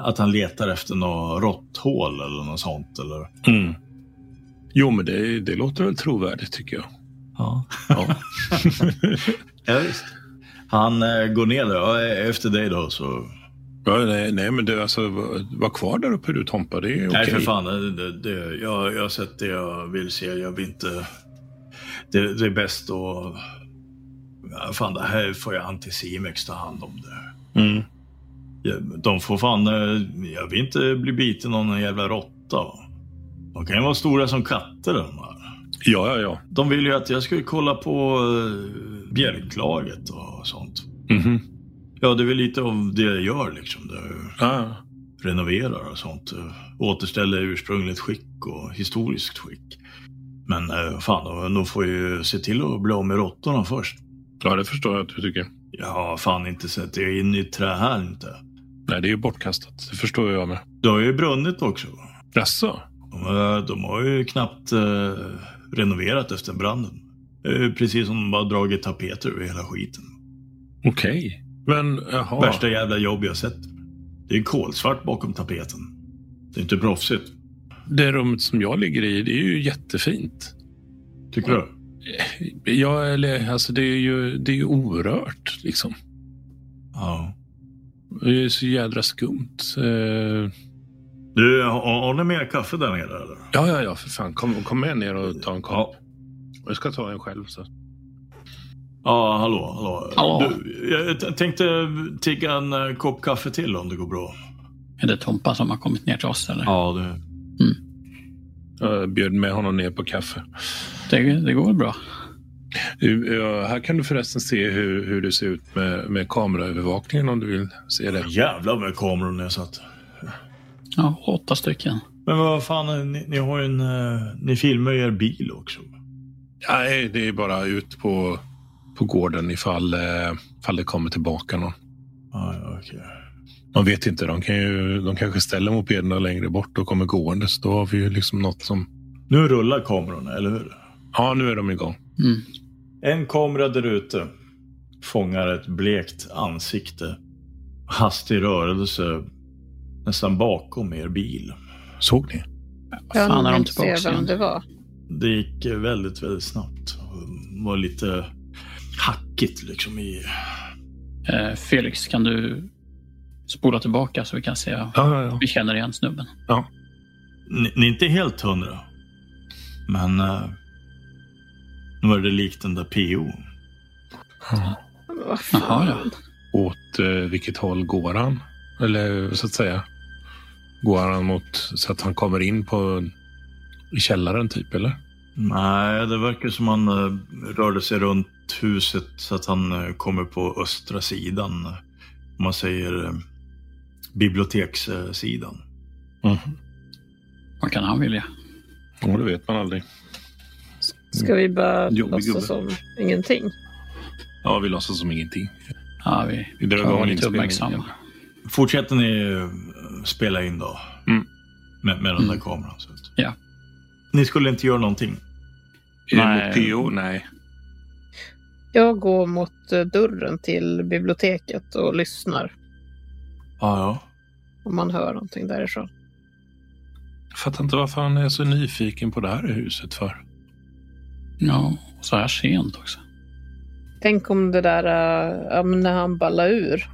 Speaker 1: Att han letar efter något råtthål eller något sånt. Eller?
Speaker 4: Mm. Jo, men det, det låter väl trovärdigt tycker jag.
Speaker 1: Ja.
Speaker 4: Ja.
Speaker 1: ja visst. Han eh, går ner där. Ja, e- Efter dig då så.
Speaker 4: ja, nej, nej, men du, alltså, var- var kvar där uppe du Tompa. Det är okej.
Speaker 1: Nej för fan. Det, det, det, jag, jag har sett det jag vill se. Jag vill inte. Det, det är bäst att. Ja, fan det här får jag Anticimex ta hand om det.
Speaker 4: Mm.
Speaker 1: Ja, De får fan, eh, jag vill inte bli biten av någon jävla råtta. va. De kan ju vara stora som katter de här.
Speaker 4: Ja, ja, ja.
Speaker 1: De vill ju att jag ska kolla på eh, bjälklaget och sånt.
Speaker 4: Mhm.
Speaker 1: Ja, det är väl lite av det jag gör liksom. Det
Speaker 4: Ah.
Speaker 1: renoverar och sånt. eh, Återställer ursprungligt skick och historiskt skick. Men eh, fan, de- de får ju se till att bli av med råttorna först.
Speaker 4: Ja, det förstår jag att du tycker.
Speaker 1: Jag har fan inte sett det in i trä här inte.
Speaker 4: Nej, det är ju bortkastat. Det förstår jag med.
Speaker 1: Det har ju brunnit också. va.
Speaker 4: Jaså?
Speaker 1: De, eh, de har ju knappt eh, renoverat efter branden. Eh, Precis som de bara dragit tapeter över hela skiten.
Speaker 4: Okej. Men jaha.
Speaker 1: Värsta jävla jobb jag sett. Det är kolsvart bakom tapeten. Det är inte proffsigt.
Speaker 4: Det rummet som jag ligger i, det är ju jättefint.
Speaker 1: Tycker du?
Speaker 4: Ja, eller alltså det är ju, det är ju orört liksom.
Speaker 1: Ja.
Speaker 4: Det är så jädra skumt. Eh,
Speaker 1: Du, har, har ni mer kaffe där nere eller?
Speaker 4: Ja, ja, ja, för fan. Kom, kom med ner och ta en kopp. Jag ska ta en själv. Så.
Speaker 1: Ja, hallå, hallå.
Speaker 3: Hallå.
Speaker 1: Du, jag t- tänkte tigga en eh, kopp kaffe till om det går bra.
Speaker 3: Är det Tompa som har kommit ner till oss eller?
Speaker 1: Ja, det...
Speaker 4: Jag bjöd med honom ner på kaffe.
Speaker 3: Det, det går bra.
Speaker 4: Du, ja, här kan du förresten se hur, hur det ser ut med, med kameraövervakningen om du vill se det.
Speaker 1: Jävlar med kameror jag satt.
Speaker 3: Ja, åtta stycken.
Speaker 1: Men vad fan, ni, ni har ju en... eh, Ni filmar ju er bil också.
Speaker 4: Nej, det är bara ut på, på gården ifall, eh, ifall det kommer tillbaka någon.
Speaker 1: Ja, ja, okej.
Speaker 4: Man vet inte, de, kan ju, de kanske ställer mopederna längre bort och kommer gående. Så då har vi ju liksom något som...
Speaker 1: Nu rullar kamerorna, eller hur?
Speaker 4: Ja, nu är de igång.
Speaker 3: Mm.
Speaker 1: En kamera där ute fångar ett blekt ansikte. Hastig rörelse nästan bakom er bil.
Speaker 4: Såg ni?
Speaker 2: Jag
Speaker 3: Fan, är de
Speaker 2: hann inte se
Speaker 3: tillbaka
Speaker 2: vem
Speaker 3: igen?
Speaker 2: det var.
Speaker 1: Det gick eh, väldigt, väldigt snabbt. Det var lite hackigt liksom i...
Speaker 3: Eh, Felix, kan du spola tillbaka så vi kan se?
Speaker 4: Ja, ja,
Speaker 3: Vi känner igen snubben.
Speaker 1: Ni, ni är inte helt hundra. Men... eh, Nu var det likt den där PO.
Speaker 4: ja.
Speaker 2: Men vad fan?
Speaker 3: Jaha, ja.
Speaker 4: Åt eh, vilket håll går han? Eller så att säga. Går han mot så att han kommer in på i källaren typ eller?
Speaker 1: Nej, det verkar som han eh, rörde sig runt huset så att han eh, kommer på östra sidan. Om man säger eh, bibliotekssidan.
Speaker 4: Mm.
Speaker 3: Vad kan han vilja?
Speaker 4: Ja, det vet man aldrig.
Speaker 2: Ska vi bara
Speaker 4: Jobbig gubbe.
Speaker 2: låtsas som ingenting?
Speaker 4: Ja, vi låtsas som ingenting.
Speaker 3: Ja, vi
Speaker 4: Vi drar
Speaker 3: kan vara
Speaker 4: igång
Speaker 3: lite
Speaker 4: inspelningen.
Speaker 3: uppmärksamma.
Speaker 1: Fortsätter ni eh, spela in då?
Speaker 4: Mm.
Speaker 1: Med, med den där
Speaker 3: Mm.
Speaker 1: kameran? Så att.
Speaker 3: Ja.
Speaker 1: Ni skulle inte göra någonting?
Speaker 4: Är det
Speaker 3: Nej.
Speaker 4: mot PO? Nej.
Speaker 2: Jag går mot eh, dörren till biblioteket och lyssnar
Speaker 1: Ja, ja.
Speaker 2: om man hör någonting därifrån.
Speaker 4: Jag fattar inte varför han är så nyfiken på det här huset för.
Speaker 3: Ja, och så här sent också.
Speaker 2: Tänk om det där, äh, ja, men när han ballade ur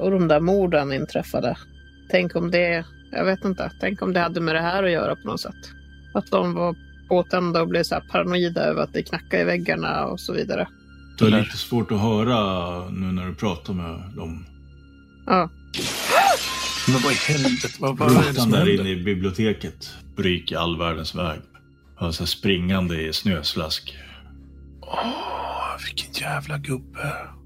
Speaker 2: och de där morden inträffade. Tänk om det, jag vet inte, tänk om det hade med det här att göra på något sätt. Att de var påtända och blev så här paranoida över att det knackade i väggarna och så vidare.
Speaker 1: Det är
Speaker 4: Eller?
Speaker 1: lite svårt att höra nu när du pratar med dem.
Speaker 2: Ja,
Speaker 4: Men vad i helvete? Vad, vad är det
Speaker 1: Rotan
Speaker 4: som
Speaker 1: där inne
Speaker 4: händer?
Speaker 1: i biblioteket. Bryk i all världens väg. Hör så här springande i snöslask.
Speaker 4: Åh, vilken jävla gubbe.